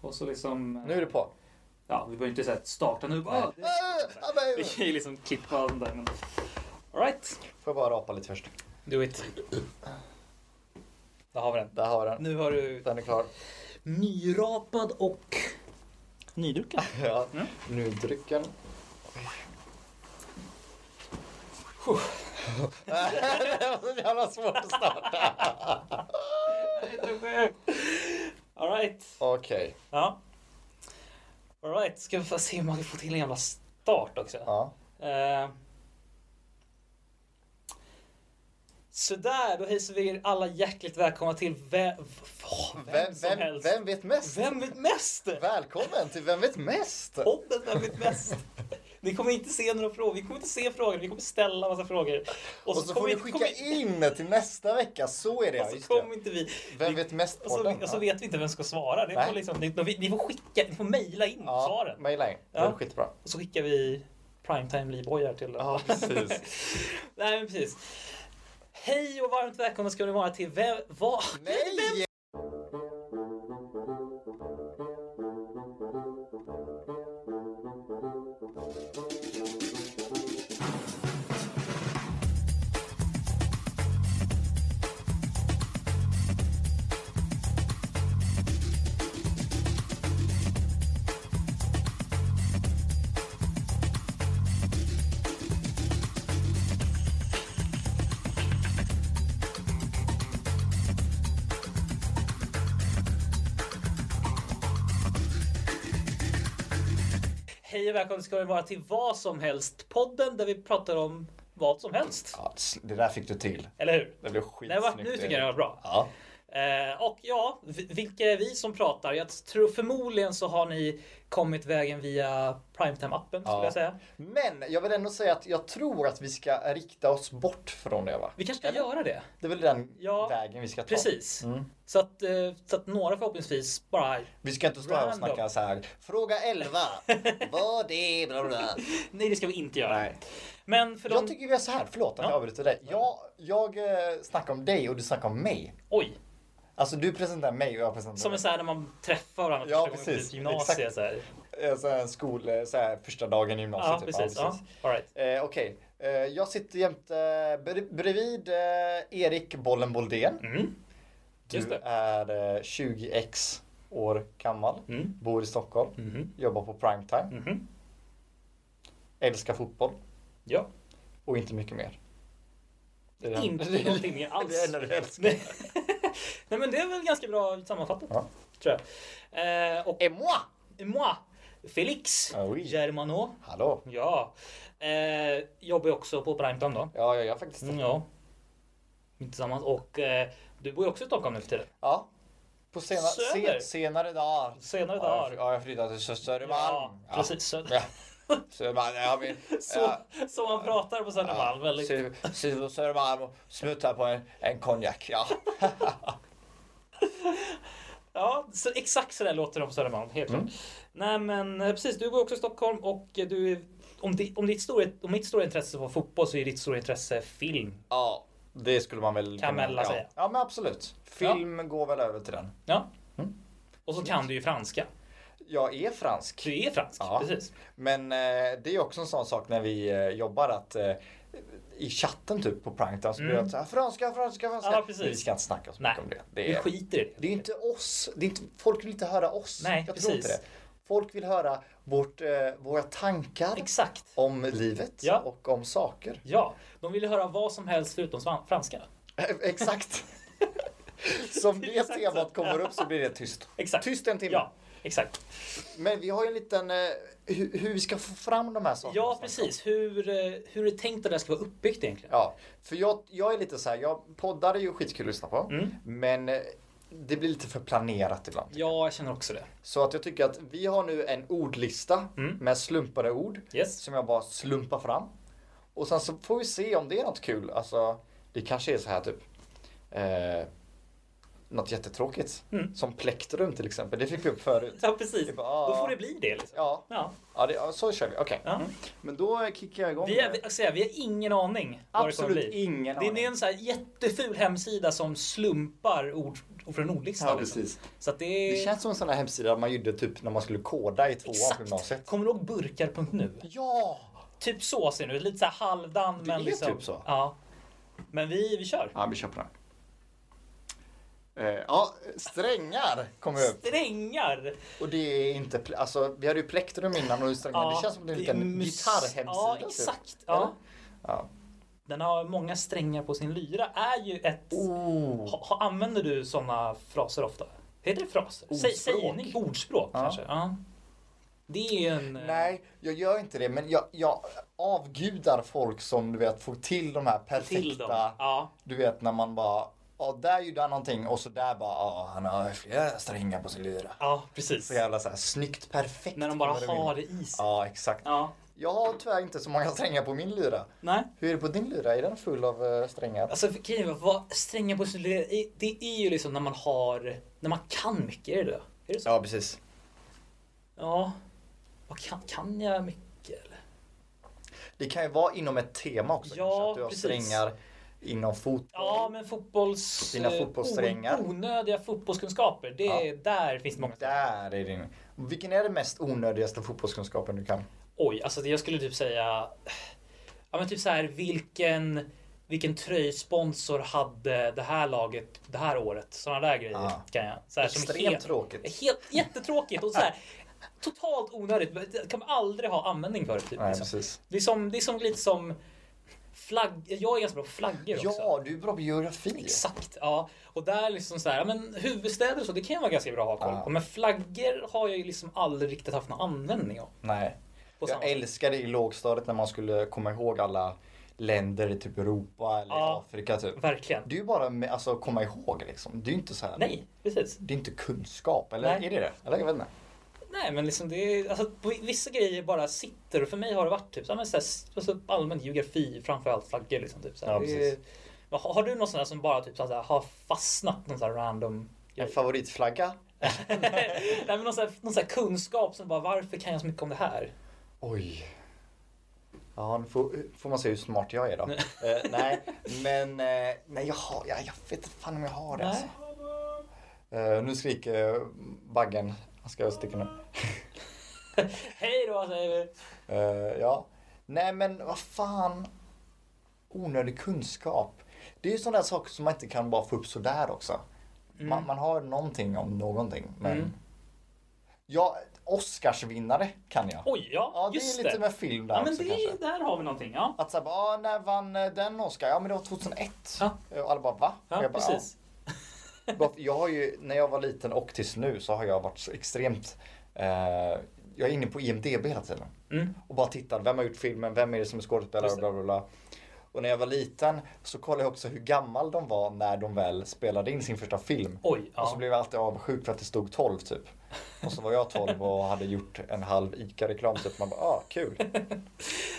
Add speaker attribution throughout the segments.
Speaker 1: Och så liksom...
Speaker 2: Nu är du på.
Speaker 1: Ja, vi behöver inte säga att starta nu. Bara,
Speaker 2: Ah, ah, men-
Speaker 1: vi kan ju liksom klippa och sånt där. Men... Alright.
Speaker 2: Får jag bara rapa lite först?
Speaker 1: Do it. Där har vi den.
Speaker 2: Där har vi den.
Speaker 1: Nu har du
Speaker 2: Den är klar.
Speaker 1: nyrapad och nydrucken.
Speaker 2: Ja.
Speaker 1: Ja.
Speaker 2: Nu drycken. det var så jävla svårt att starta.
Speaker 1: Alright.
Speaker 2: Okej.
Speaker 1: Ja. Alright, ska vi få se om man kan få till en jävla start också.
Speaker 2: Ja.
Speaker 1: Eh. Sådär, då hälsar vi er alla hjärtligt välkomna till vem, vem,
Speaker 2: Vem,
Speaker 1: som
Speaker 2: vem,
Speaker 1: helst.
Speaker 2: vem vet mest?
Speaker 1: Vem vet mest?
Speaker 2: Välkommen till Vem vet mest?
Speaker 1: Podden Vem vet mest? Ni kommer inte se några frågor, vi kommer inte se frågor, vi kommer ställa massa frågor.
Speaker 2: Och så får
Speaker 1: kommer
Speaker 2: ni
Speaker 1: inte- kommer-
Speaker 2: skicka in till nästa vecka. Så är det ja,
Speaker 1: Och
Speaker 2: just
Speaker 1: så kommer
Speaker 2: det.
Speaker 1: inte vi.
Speaker 2: Vem
Speaker 1: vi-
Speaker 2: vet mest
Speaker 1: Och så,
Speaker 2: podden?
Speaker 1: och så vet vi inte vem som ska svara. Det
Speaker 2: Nej.
Speaker 1: får liksom, ni, ni får skicka, ni får mejla in
Speaker 2: Ja,
Speaker 1: svaren.
Speaker 2: mejla in. Det
Speaker 1: Ja.
Speaker 2: är skitbra.
Speaker 1: Och så skickar vi primetime livbojar till dem.
Speaker 2: Ja, precis.
Speaker 1: Nej men precis. Hej och varmt välkomna ska ni vara till vem, vad?
Speaker 2: Nej!
Speaker 1: Hej och välkomna ska ni vara till vad som helst podden där vi pratar om vad som helst.
Speaker 2: Ja, det där fick du till.
Speaker 1: Eller hur?
Speaker 2: Det blev
Speaker 1: Nej, va?
Speaker 2: skitsnyggt.
Speaker 1: nu tycker jag det var bra.
Speaker 2: Ja.
Speaker 1: Eh, och ja, vi- vilka är vi som pratar? Jag tror förmodligen så har ni kommit vägen via Primetime-appen skulle
Speaker 2: Ja.
Speaker 1: jag säga.
Speaker 2: Men jag vill ändå säga att jag tror att vi ska rikta oss bort från det va?
Speaker 1: Vi kanske ska göra det.
Speaker 2: Det är väl den
Speaker 1: Ja,
Speaker 2: vägen vi ska ta.
Speaker 1: Precis.
Speaker 2: Mm.
Speaker 1: Så, att, eh, så att några förhoppningsvis bara
Speaker 2: Vi ska inte stå här och
Speaker 1: Random.
Speaker 2: snacka så här. Fråga 11. Vad är bla bla bla.
Speaker 1: Nej, det ska vi inte göra.
Speaker 2: Nej.
Speaker 1: Men för de...
Speaker 2: Jag tycker vi är så här. Förlåt att
Speaker 1: Ja.
Speaker 2: jag avbryter dig. Jag, jag eh, snackar om dig och du snackar om mig.
Speaker 1: Oj!
Speaker 2: Alltså du presenterar mig och jag presenterar
Speaker 1: Som är
Speaker 2: dig.
Speaker 1: så här när man träffar varandra
Speaker 2: Ja,
Speaker 1: första gången
Speaker 2: precis.
Speaker 1: på typ gymnasiet.
Speaker 2: Exakt.
Speaker 1: Så här.
Speaker 2: Eh, Så här, en skol, eh, så här, första dagen i gymnasiet.
Speaker 1: Ja,
Speaker 2: typ.
Speaker 1: precis. Ja, all right.
Speaker 2: Eh, Okej, eh, jag sitter jämte bre- bredvid eh, Erik Bollen Boldén.
Speaker 1: mm.
Speaker 2: Du
Speaker 1: Just det.
Speaker 2: är eh, 20x år gammal,
Speaker 1: Mm.
Speaker 2: bor i Stockholm,
Speaker 1: Mhm.
Speaker 2: jobbar på primetime,
Speaker 1: Mhm.
Speaker 2: älskar fotboll
Speaker 1: Ja.
Speaker 2: och inte mycket mer. Det är det-
Speaker 1: Inte
Speaker 2: det är-
Speaker 1: någonting mer alls.
Speaker 2: Det är det enda du älskar.
Speaker 1: Nej. Nej, men det är väl ganska bra sammanfattat.
Speaker 2: Ja.
Speaker 1: Tror jag. Eh, och
Speaker 2: Et moi!
Speaker 1: moi, Felix
Speaker 2: Ah, oui.
Speaker 1: Germano.
Speaker 2: Hallå?
Speaker 1: Ja. Eh, jobbar ju också på Primetime då.
Speaker 2: Ja, jag gör faktiskt det.
Speaker 1: Mm, ja. Tillsammans. Och eh, du bor ju också i Stockholm nu för tiden.
Speaker 2: Ja. På sena,
Speaker 1: Söder.
Speaker 2: se, senare dagar.
Speaker 1: Senare
Speaker 2: Ja, jag,
Speaker 1: dagar.
Speaker 2: fly- ja, jag flyttade till Sö- Södermalm.
Speaker 1: Ja, precis. Så,
Speaker 2: Ja. Södermalm, jag vill...
Speaker 1: så, så man pratar på Södermalm.
Speaker 2: Ja,
Speaker 1: väldigt-
Speaker 2: Syd- syd- Södermalm och smuttar på en, en konjak. Ja.
Speaker 1: Ja, så, exakt så där låter de på Södermalm. Helt
Speaker 2: Mm.
Speaker 1: klart. Nej men eh, precis, du bor också i Stockholm och eh, du är, om, di, om, ditt stora, om mitt stora intresse var fotboll så är ditt stora intresse film.
Speaker 2: ja, det skulle man väl
Speaker 1: Kan Mella
Speaker 2: ja.
Speaker 1: säga.
Speaker 2: Ja, men absolut. Film går väl över till den.
Speaker 1: Ja.
Speaker 2: Mm.
Speaker 1: Och så kan du ju franska.
Speaker 2: Jag är fransk.
Speaker 1: Du är fransk,
Speaker 2: Ja.
Speaker 1: precis.
Speaker 2: Men eh, det är också en sån sak när vi eh, jobbar att eh, i chatten typ på Pranktown så blir
Speaker 1: Mm.
Speaker 2: det så här franska, franska, franska.
Speaker 1: Ja, precis.
Speaker 2: Men vi ska inte snacka så mycket
Speaker 1: Nej,
Speaker 2: om
Speaker 1: Vi
Speaker 2: det. Det är,
Speaker 1: skiter i det.
Speaker 2: det är inte oss. Det är inte, folk vill inte höra oss.
Speaker 1: Nej,
Speaker 2: Jag
Speaker 1: precis.
Speaker 2: tror inte det. Folk vill höra vårt, eh, våra tankar
Speaker 1: Exakt.
Speaker 2: om livet
Speaker 1: Ja.
Speaker 2: och om saker.
Speaker 1: Ja, de ville höra vad som helst förutom svan- franska.
Speaker 2: Eh, Exakt. Som det
Speaker 1: Exakt så.
Speaker 2: temat kommer upp så blir det tyst.
Speaker 1: Exakt.
Speaker 2: Tyst en timme.
Speaker 1: Ja, exakt. Men
Speaker 2: Men vi har ju en liten eh, hur, hur vi ska få fram de här sakerna.
Speaker 1: ja, precis. Hur, eh, hur är det tänkt att det här ska vara uppbyggt egentligen?
Speaker 2: Ja, för jag, jag är lite så här, jag poddar är ju skitkul att lyssna på.
Speaker 1: Mm.
Speaker 2: Men eh, det blir lite för planerat ibland.
Speaker 1: Ja, jag känner också det.
Speaker 2: Så att jag tycker att vi har nu en ordlista
Speaker 1: Mm.
Speaker 2: med slumpade ord
Speaker 1: Yes.
Speaker 2: som jag bara slumpar fram. Och sen så får vi se om det är något kul. Alltså, det kanske är så här typ. Eh, något jättetråkigt.
Speaker 1: Mm.
Speaker 2: Som plektrum till exempel. Det fick vi upp förut.
Speaker 1: Ja, precis.
Speaker 2: Det är bara, ah.
Speaker 1: Då får det bli det liksom.
Speaker 2: Ja,
Speaker 1: Ja.
Speaker 2: ja, det, ja så kör vi. Okej.
Speaker 1: ja.
Speaker 2: Mm. Men då kickar jag igång.
Speaker 1: Vi,
Speaker 2: med-
Speaker 1: är, jag säger, vi har ingen aning vad det kommer
Speaker 2: Absolut
Speaker 1: bli.
Speaker 2: ingen
Speaker 1: Det är
Speaker 2: aning.
Speaker 1: en så här jätteful hemsida som slumpar ord och för en ordlista.
Speaker 2: Ja,
Speaker 1: liksom.
Speaker 2: precis.
Speaker 1: Så att det,
Speaker 2: Det känns som en sån här hemsida man gjorde typ när man skulle koda i tvåan på
Speaker 1: Exakt.
Speaker 2: gymnasiet.
Speaker 1: Kommer du ihåg burkar.nu?
Speaker 2: Ja!
Speaker 1: Typ så ser nu Lite så här halvdan.
Speaker 2: Det
Speaker 1: men
Speaker 2: är
Speaker 1: liksom,
Speaker 2: typ så.
Speaker 1: Ja. Men vi, vi kör.
Speaker 2: Ja, vi kör på den. Eh, ja, strängar kommer upp.
Speaker 1: Strängar!
Speaker 2: Och det är inte, pl- alltså vi hade ju plektrum innan och strängar. det känns som en liten
Speaker 1: mus-
Speaker 2: gitarrhemsida.
Speaker 1: Ja,
Speaker 2: typ.
Speaker 1: exakt. Ja.
Speaker 2: Ja.
Speaker 1: Den har många strängar på sin lyra. Är ju ett...
Speaker 2: Oh.
Speaker 1: Ha, ha, använder du sådana fraser ofta? Heter det fraser? Sä,
Speaker 2: Ordspråk.
Speaker 1: sägning? Ordspråk
Speaker 2: Ja.
Speaker 1: kanske? Ja. Det är ju en... eh,
Speaker 2: Nej, jag gör inte det, men jag, jag avgudar folk som du vet får till de här
Speaker 1: Till dem.
Speaker 2: perfekta,
Speaker 1: Ja.
Speaker 2: du vet när man bara, ja där gjorde han någonting och så där bara, ja han har flera strängar på sin lyra.
Speaker 1: ja, precis.
Speaker 2: Så jävla så här snyggt perfekt.
Speaker 1: När de bara
Speaker 2: kommer de in.
Speaker 1: har det i sig.
Speaker 2: Ja, exakt.
Speaker 1: Ja.
Speaker 2: Jag har tyvärr inte så många strängar på min lyra.
Speaker 1: Nej.
Speaker 2: Hur är det på din lyra? Är den full av eh, strängar?
Speaker 1: Alltså för grejen är, vad stränga på sin lyra, i- det är ju liksom när man har, när man kan mycket, är det det? Är det så?
Speaker 2: Ja, precis.
Speaker 1: Ja. Vad kan, kan jag mycket eller?
Speaker 2: Det kan ju vara inom ett tema också.
Speaker 1: Ja,
Speaker 2: kanske, att du har
Speaker 1: precis.
Speaker 2: strängar inom fotboll.
Speaker 1: Ja, men fotbolls...
Speaker 2: Dina
Speaker 1: eh,
Speaker 2: fotbollssträngar.
Speaker 1: o- Onödiga fotbollskunskaper. Det, är- Där finns det många.
Speaker 2: Där är din. Vilken är den mest onödigaste fotbollskunskapen du kan?
Speaker 1: Oj, alltså jag skulle typ säga... Ja men typ så här, vilken, vilken tröjsponsor hade det här laget det här året? Sådana där grejer
Speaker 2: Ja.
Speaker 1: kan jag. Så här, som är
Speaker 2: Extremt
Speaker 1: helt-
Speaker 2: tråkigt.
Speaker 1: Helt, jättetråkigt och så här, totalt onödigt. Det kan man aldrig ha användning för. det, Typ,
Speaker 2: Nej,
Speaker 1: liksom.
Speaker 2: precis.
Speaker 1: det, är som, det är som lite som flagg... Jag är ganska bra på flaggor också.
Speaker 2: Ja, du är bra på geografi.
Speaker 1: Exakt, ja. Och där liksom så här, ja, men huvudstäder och så, det kan ju vara ganska bra att ha koll
Speaker 2: Ja.
Speaker 1: på. Men flaggor har jag ju liksom aldrig riktigt haft någon användning av.
Speaker 2: Nej.
Speaker 1: På samma
Speaker 2: Jag
Speaker 1: sätt.
Speaker 2: älskade i lågstadiet när man skulle komma ihåg alla länder i typ Europa eller
Speaker 1: Ja.
Speaker 2: Afrika typ.
Speaker 1: Verkligen.
Speaker 2: Det är ju bara med, alltså, komma ihåg liksom. Det är ju inte så här.
Speaker 1: Nej, precis.
Speaker 2: Det är inte kunskap, eller
Speaker 1: Nej.
Speaker 2: är det det? Eller jag vet inte.
Speaker 1: Nej, men liksom det är, alltså, på vissa grejer bara sitter och för mig har det varit typ så här, men så här, alltså, allmän geografi framför allt flaggor. Liksom, typ, så här.
Speaker 2: Ja,
Speaker 1: Det är-
Speaker 2: precis.
Speaker 1: Men har, har du någon sån där som bara typ, så här, har fastnat någon sån här random
Speaker 2: En favoritflagga?
Speaker 1: Nej, men någon, sån här, någon sån här kunskap som bara varför kan jag så mycket om det här?
Speaker 2: Oj. Ja, nu får, får man se hur smart jag är då. eh, nej, men eh, nej, jag, har, jag, jag vet inte fan om jag har det.
Speaker 1: Nej.
Speaker 2: Alltså. Eh, nu skriker eh, baggen. Han ska sticka nu.
Speaker 1: Hej då säger vi.
Speaker 2: Eh, ja. Nej men vad fan. Onödig kunskap. Det är ju sådana där saker som man inte kan bara få upp sådär också. Man, man har någonting om någonting. Men...
Speaker 1: Mm.
Speaker 2: Ja, Oscarsvinnare kan jag.
Speaker 1: Oj, ja,
Speaker 2: ja, det
Speaker 1: just
Speaker 2: är lite
Speaker 1: det.
Speaker 2: med film där
Speaker 1: Ja, men
Speaker 2: också
Speaker 1: det,
Speaker 2: kanske.
Speaker 1: där har vi någonting. Ja,
Speaker 2: Att såhär bara, ah, när vann eh, den Oscar? Ja men det var 2001.
Speaker 1: Ja.
Speaker 2: Och alla bara va?
Speaker 1: ja
Speaker 2: Och jag bara,
Speaker 1: precis.
Speaker 2: "Ja." Bara för- Jag har ju, när jag var liten och tills nu så har jag varit så extremt eh, Jag är inne på IMDB hela tiden.
Speaker 1: Mm.
Speaker 2: Och bara tittar, vem har gjort filmen? Vem är det som är skådespelare?
Speaker 1: Just det.
Speaker 2: Bla, bla, bla. Och när jag var liten så kollade jag också hur gammal de var när de väl spelade in sin första film.
Speaker 1: Oj,
Speaker 2: Och så
Speaker 1: ja.
Speaker 2: blev jag alltid avundsjuk för att det stod 12 typ. Och så var jag 12 och hade gjort en halv ICA-reklam typ. Man bara, ah kul.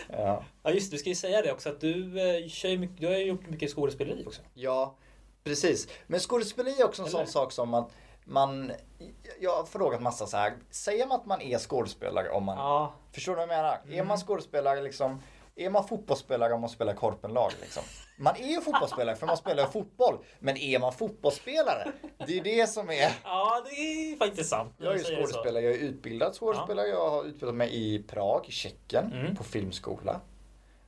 Speaker 2: Ja.
Speaker 1: ja, just det. Vi ska ju säga det också att du, eh, kör ju mycket, du har ju gjort mycket skådespeleri också.
Speaker 2: Ja, precis. Men skådespeleri är också en
Speaker 1: Eller?
Speaker 2: sån sak som att man... Jag har frågat massa så här. Säger man att man är skådespelare om man...
Speaker 1: Ja, Mm.
Speaker 2: Förstår du vad jag menar? Är man skådespelare liksom... Är man fotbollsspelare om man spelar korpenlag liksom? Man är ju fotbollsspelare för man spelar ju fotboll. Men är man fotbollsspelare? Det är det som är...
Speaker 1: ja det är faktiskt sant.
Speaker 2: Jag är
Speaker 1: Jag
Speaker 2: ju
Speaker 1: säger det så.
Speaker 2: skådespelare, jag är utbildad skådespelare. Jag har utbildat mig i Prag, i Tjeckien,
Speaker 1: Mm.
Speaker 2: på filmskola.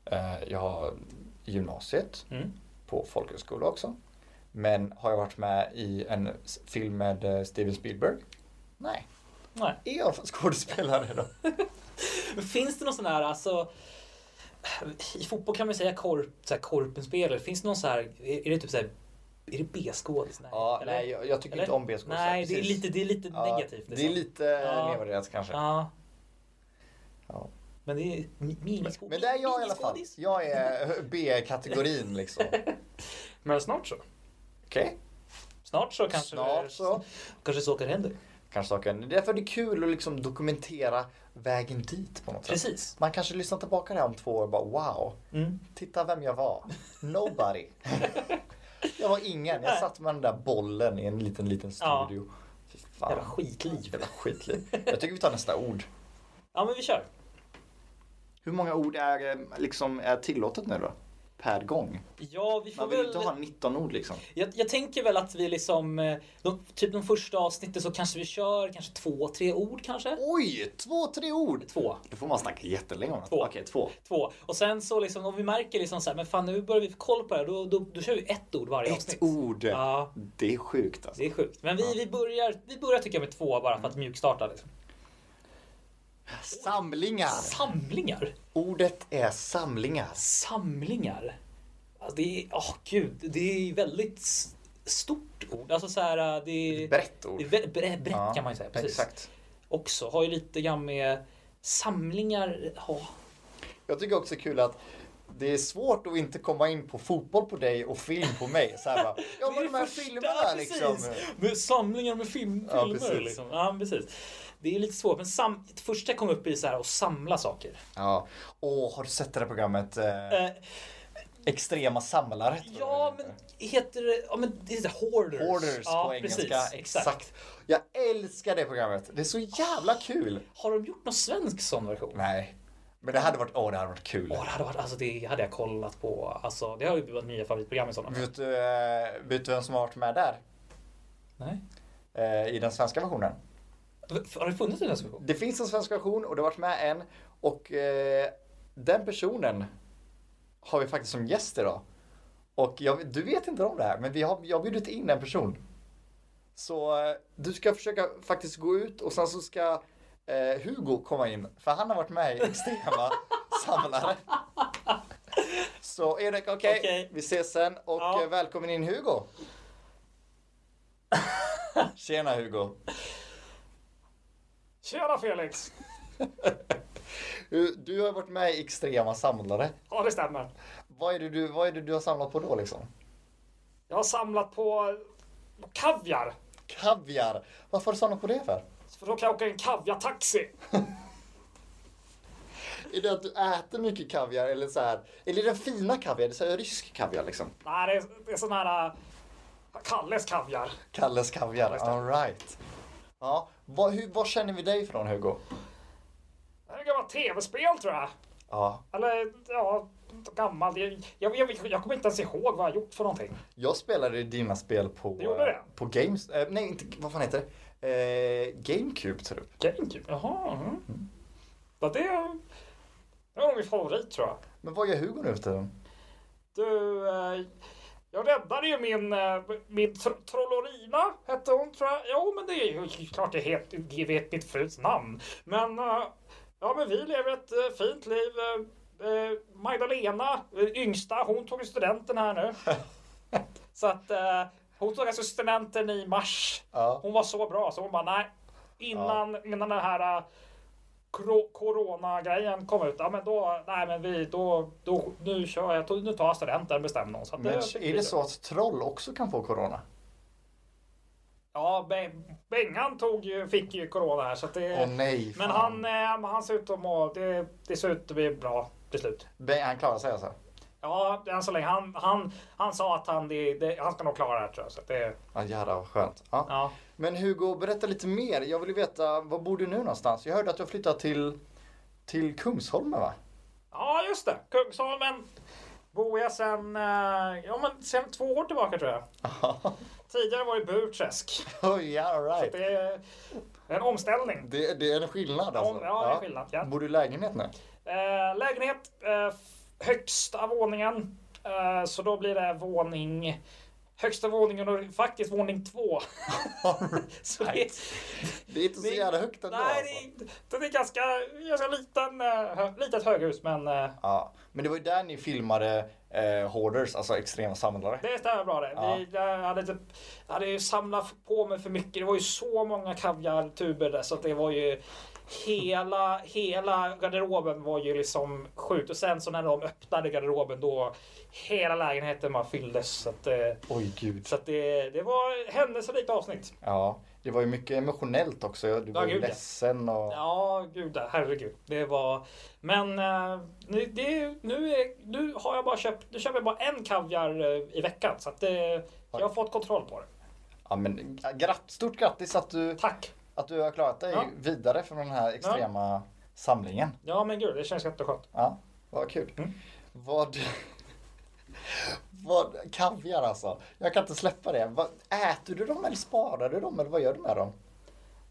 Speaker 2: Eh, Jag har i gymnasiet
Speaker 1: Mm.
Speaker 2: på folkhögskola också. Men har jag varit med i en s- film med eh, Steven Spielberg? Nej.
Speaker 1: Nej.
Speaker 2: Är jag skådespelare då?
Speaker 1: Men finns det någon sån här, alltså... I fotboll kan man ju säga korp, så här korpenspelare. Finns det någon så här, är är det typ så här, är det B-skådis? Nej,
Speaker 2: ja,
Speaker 1: eller?
Speaker 2: nej, jag, jag tycker
Speaker 1: Eller?
Speaker 2: inte om B-skådespelare.
Speaker 1: Nej, det är
Speaker 2: precis.
Speaker 1: lite, det är lite
Speaker 2: Ja,
Speaker 1: negativt.
Speaker 2: Det är
Speaker 1: liksom.
Speaker 2: lite
Speaker 1: Ja.
Speaker 2: nedvärderat kanske.
Speaker 1: Ja.
Speaker 2: Ja.
Speaker 1: Men det är miniskådis.
Speaker 2: Men det är jag i alla fall. Jag är eh, B-kategorin liksom. Okej.
Speaker 1: Men snart så. Snart så kanske
Speaker 2: Snart så.
Speaker 1: Kanske saker händer.
Speaker 2: Kanske saken. Därför är det kul att liksom dokumentera vägen dit på något sätt.
Speaker 1: Precis.
Speaker 2: Man kanske lyssnar tillbaka det här om två år och bara wow.
Speaker 1: Mm.
Speaker 2: Titta vem jag var. Nobody. jag var ingen. Jag satt med den där bollen i en liten, liten
Speaker 1: Ja.
Speaker 2: studio. Fy fan.
Speaker 1: Jävla skitliv.
Speaker 2: Jävla skitliv. Jag tycker vi tar nästa ord.
Speaker 1: Ja men vi kör.
Speaker 2: Hur många ord är, eh, liksom, är tillåtet nu då? per gång.
Speaker 3: Ja, vi får
Speaker 2: Man vill ju
Speaker 3: väl...
Speaker 2: inte ha 19 ord liksom.
Speaker 3: Jag, jag tänker väl att vi liksom, eh, de, typ de första avsnitten så kanske vi kör kanske två, tre ord kanske?
Speaker 2: Oj, två, tre ord!
Speaker 3: Två.
Speaker 2: Då får man snacka jättelänge om det.
Speaker 3: Två.
Speaker 2: Okej, två.
Speaker 3: Två. Och sen så liksom, om vi märker liksom så här, men fan nu börjar vi få koll på det här, då, då, då kör vi ett ord varje
Speaker 2: Ett
Speaker 3: avsnitt.
Speaker 2: ord!
Speaker 3: Ja,
Speaker 2: Det är sjukt alltså.
Speaker 3: det är sjukt. Men vi, vi, börjar, vi börjar tycker jag med två bara för
Speaker 2: Mm.
Speaker 3: att mjukstarta. Liksom.
Speaker 2: Samlingar!
Speaker 3: Samlingar?
Speaker 2: Ordet är samlingar.
Speaker 3: Samlingar? Alltså, det är, åh gud, det är väldigt s- stort ord. Alltså så här, eh, det är...
Speaker 2: Brett ord.
Speaker 3: Det är vä- bre- brett
Speaker 2: Ja,
Speaker 3: kan man ju säga. Precis.
Speaker 2: Exakt.
Speaker 3: Också, har ju lite grann med samlingar, ja.
Speaker 2: Jag tycker också det är kul att det är svårt att inte komma in på fotboll på dig och film på mig. Så här bara, ja men de här filmerna liksom.
Speaker 3: Med samlingar med film,
Speaker 2: Ja,
Speaker 3: filmer.
Speaker 2: precis.
Speaker 3: Liksom. Ja, precis. Det är lite svårt, men sam, det första kom upp i så här att samla saker.
Speaker 2: Ja. Åh, har du sett det här programmet? Eh,
Speaker 3: Eh,
Speaker 2: Extrema samlare. tror jag
Speaker 3: ja,
Speaker 2: det
Speaker 3: men
Speaker 2: heter.
Speaker 3: heter det, ja, men det heter hoarders.
Speaker 2: Orders
Speaker 3: ja,
Speaker 2: på
Speaker 3: precis,
Speaker 2: engelska. Exakt. Jag älskar det programmet. Det är så jävla kul.
Speaker 3: Har de gjort någon svensk sån version?
Speaker 2: Nej. Men det hade varit, åh det hade varit kul.
Speaker 3: Åh, det, hade varit, alltså, det hade jag kollat på. Alltså, det har ju varit mina favoritprogram i sådana fall.
Speaker 2: Vet du, eh, vet du vem som har varit med där?
Speaker 3: Nej.
Speaker 2: Eh, I den svenska versionen.
Speaker 3: Har det funnits en svensk version?
Speaker 2: Det finns en svensk version och det har varit med en. Och eh, den personen har vi faktiskt som gäst idag. Och jag, du vet inte om det här, men vi har, jag har bjudit in en person. Så eh, du ska försöka faktiskt gå ut och sen så ska eh, Hugo komma in. För han har varit med i Extrema Samlare. Så Erik, okej,
Speaker 3: Okej.
Speaker 2: vi ses sen. Och
Speaker 3: Ja.
Speaker 2: eh, välkommen in Hugo. Tjena Hugo.
Speaker 3: Tjena Felix!
Speaker 2: Du- Du har varit med i Extrema Samlare.
Speaker 3: Ja, det stämmer.
Speaker 2: Vad är, det du, vad är det du har samlat på då liksom?
Speaker 3: Jag har samlat på kaviar.
Speaker 2: Kaviar! Varför har du samlat på det för?
Speaker 3: För då kan jag åka i en kaviartaxi.
Speaker 2: Är det att du äter mycket kaviar eller så här? Eller är det den fina kaviar? Det är så här rysk kaviar liksom.
Speaker 3: Nej, det är, det är sån här... äh, Kalles kaviar.
Speaker 2: Kalles kaviar,
Speaker 3: just det.
Speaker 2: alright. Ja, vad, hur, vad känner vi dig från Hugo?
Speaker 3: Det är gammalt tv-spel tror jag.
Speaker 2: Ja,
Speaker 3: Eller ja, gammalt. Jag, jag, jag, jag kommer inte ens ihåg vad jag gjort för någonting.
Speaker 2: jag spelade dina spel på...
Speaker 3: Du gjorde det?
Speaker 2: På Games... eh, nej, inte... Vad fan heter det? Eh, GameCube tror jag.
Speaker 3: GameCube? Jaha. Mm. Ja, det, det var min favorit tror jag.
Speaker 2: Men vad gör Hugo nu för tiden?
Speaker 3: Du, eh, jag räddade ju min, eh, min tr- Trollorina, hette hon tror jag. Jo, men det är ju klart jag het, jag vet mitt frus namn. Men, eh, ja men vi lever ett eh, fint liv. Eh, eh, Magdalena, eh, yngsta, hon tog ju studenten här nu. så att eh, hon tog alltså studenten i mars.
Speaker 2: Ja.
Speaker 3: Hon var så bra så hon bara nej. Innan, innan den här eh, kro- Corona-grejen kom ut, ja men då, nej men vi, då, då nu kör jag, nu tar jag studenten bestämde hon. Så att
Speaker 2: Men
Speaker 3: fick
Speaker 2: är
Speaker 3: vi
Speaker 2: det
Speaker 3: då.
Speaker 2: så att troll också kan få corona?
Speaker 3: Ja, Be- Bengan tog ju, fick ju corona här så att det,
Speaker 2: Åh nej,
Speaker 3: men han, eh, han ser ut att må, det, det ser ut att bli bra till slut.
Speaker 2: han... Han klarar sig alltså?
Speaker 3: Ja, än så länge. Han, han, han sa att han, det, det, han ska nog klara det här tror jag. Så att det,
Speaker 2: Ja, jävlar vad skönt. Ja.
Speaker 3: ja.
Speaker 2: Men Hugo, berätta lite mer. Jag vill ju veta, var bor du nu någonstans? Jag hörde att du har flyttat till, till Kungsholmen va?
Speaker 3: ja, just det. Kungsholmen bor jag sen, eh, ja, men sen två år tillbaka tror jag. Tidigare var det Burträsk.
Speaker 2: Oh, yeah, all
Speaker 3: Så att
Speaker 2: right.
Speaker 3: det är en omställning.
Speaker 2: det, det är en skillnad alltså?
Speaker 3: Ja, det är skillnad. Ja.
Speaker 2: Bor du i lägenhet nu?
Speaker 3: Eh, lägenhet, eh, högsta våningen. Eh, så då blir det våning... Högsta våningen och faktiskt våning två. så det,
Speaker 2: Det är inte så
Speaker 3: Det-
Speaker 2: jävla högt ändå alltså.
Speaker 3: nej, det, det är ganska, ganska liten, eh, hö, litet höghus men eh,
Speaker 2: Ja, men det var ju där ni filmade eh, Hoarders, alltså extrema samlare.
Speaker 3: det stämmer bra det.
Speaker 2: Ja.
Speaker 3: Vi, jag, hade typ, jag hade ju samlat på mig för mycket. Det var ju så många kaviartuber där så att det var ju hela, hela garderoben var ju liksom sjukt. Och sen så när de öppnade garderoben då hela lägenheten bara fylldes. Så att, eh,
Speaker 2: Oj gud.
Speaker 3: så att det, det var händelserikt avsnitt.
Speaker 2: Ja, det var ju mycket emotionellt också. Du var ju
Speaker 3: gud, ja.
Speaker 2: ledsen och...
Speaker 3: Ja, gud ja, herregud. Det var... Men eh, nu, det, nu, är, nu har jag bara köpt... Nu köper jag bara en kaviar eh, i veckan. Så att det, jag har fått kontroll på det.
Speaker 2: Ja, men gratt, stort grattis att du,
Speaker 3: Tack!
Speaker 2: att du har klarat dig
Speaker 3: Ja.
Speaker 2: vidare från den här extrema samlingen.
Speaker 3: Ja men gud, det känns jätteskönt.
Speaker 2: Ja, vad kul. Vad, Vad, kaviar alltså. Jag kan inte släppa det. Vad, äter du dem eller sparar du dem eller vad gör du med dem?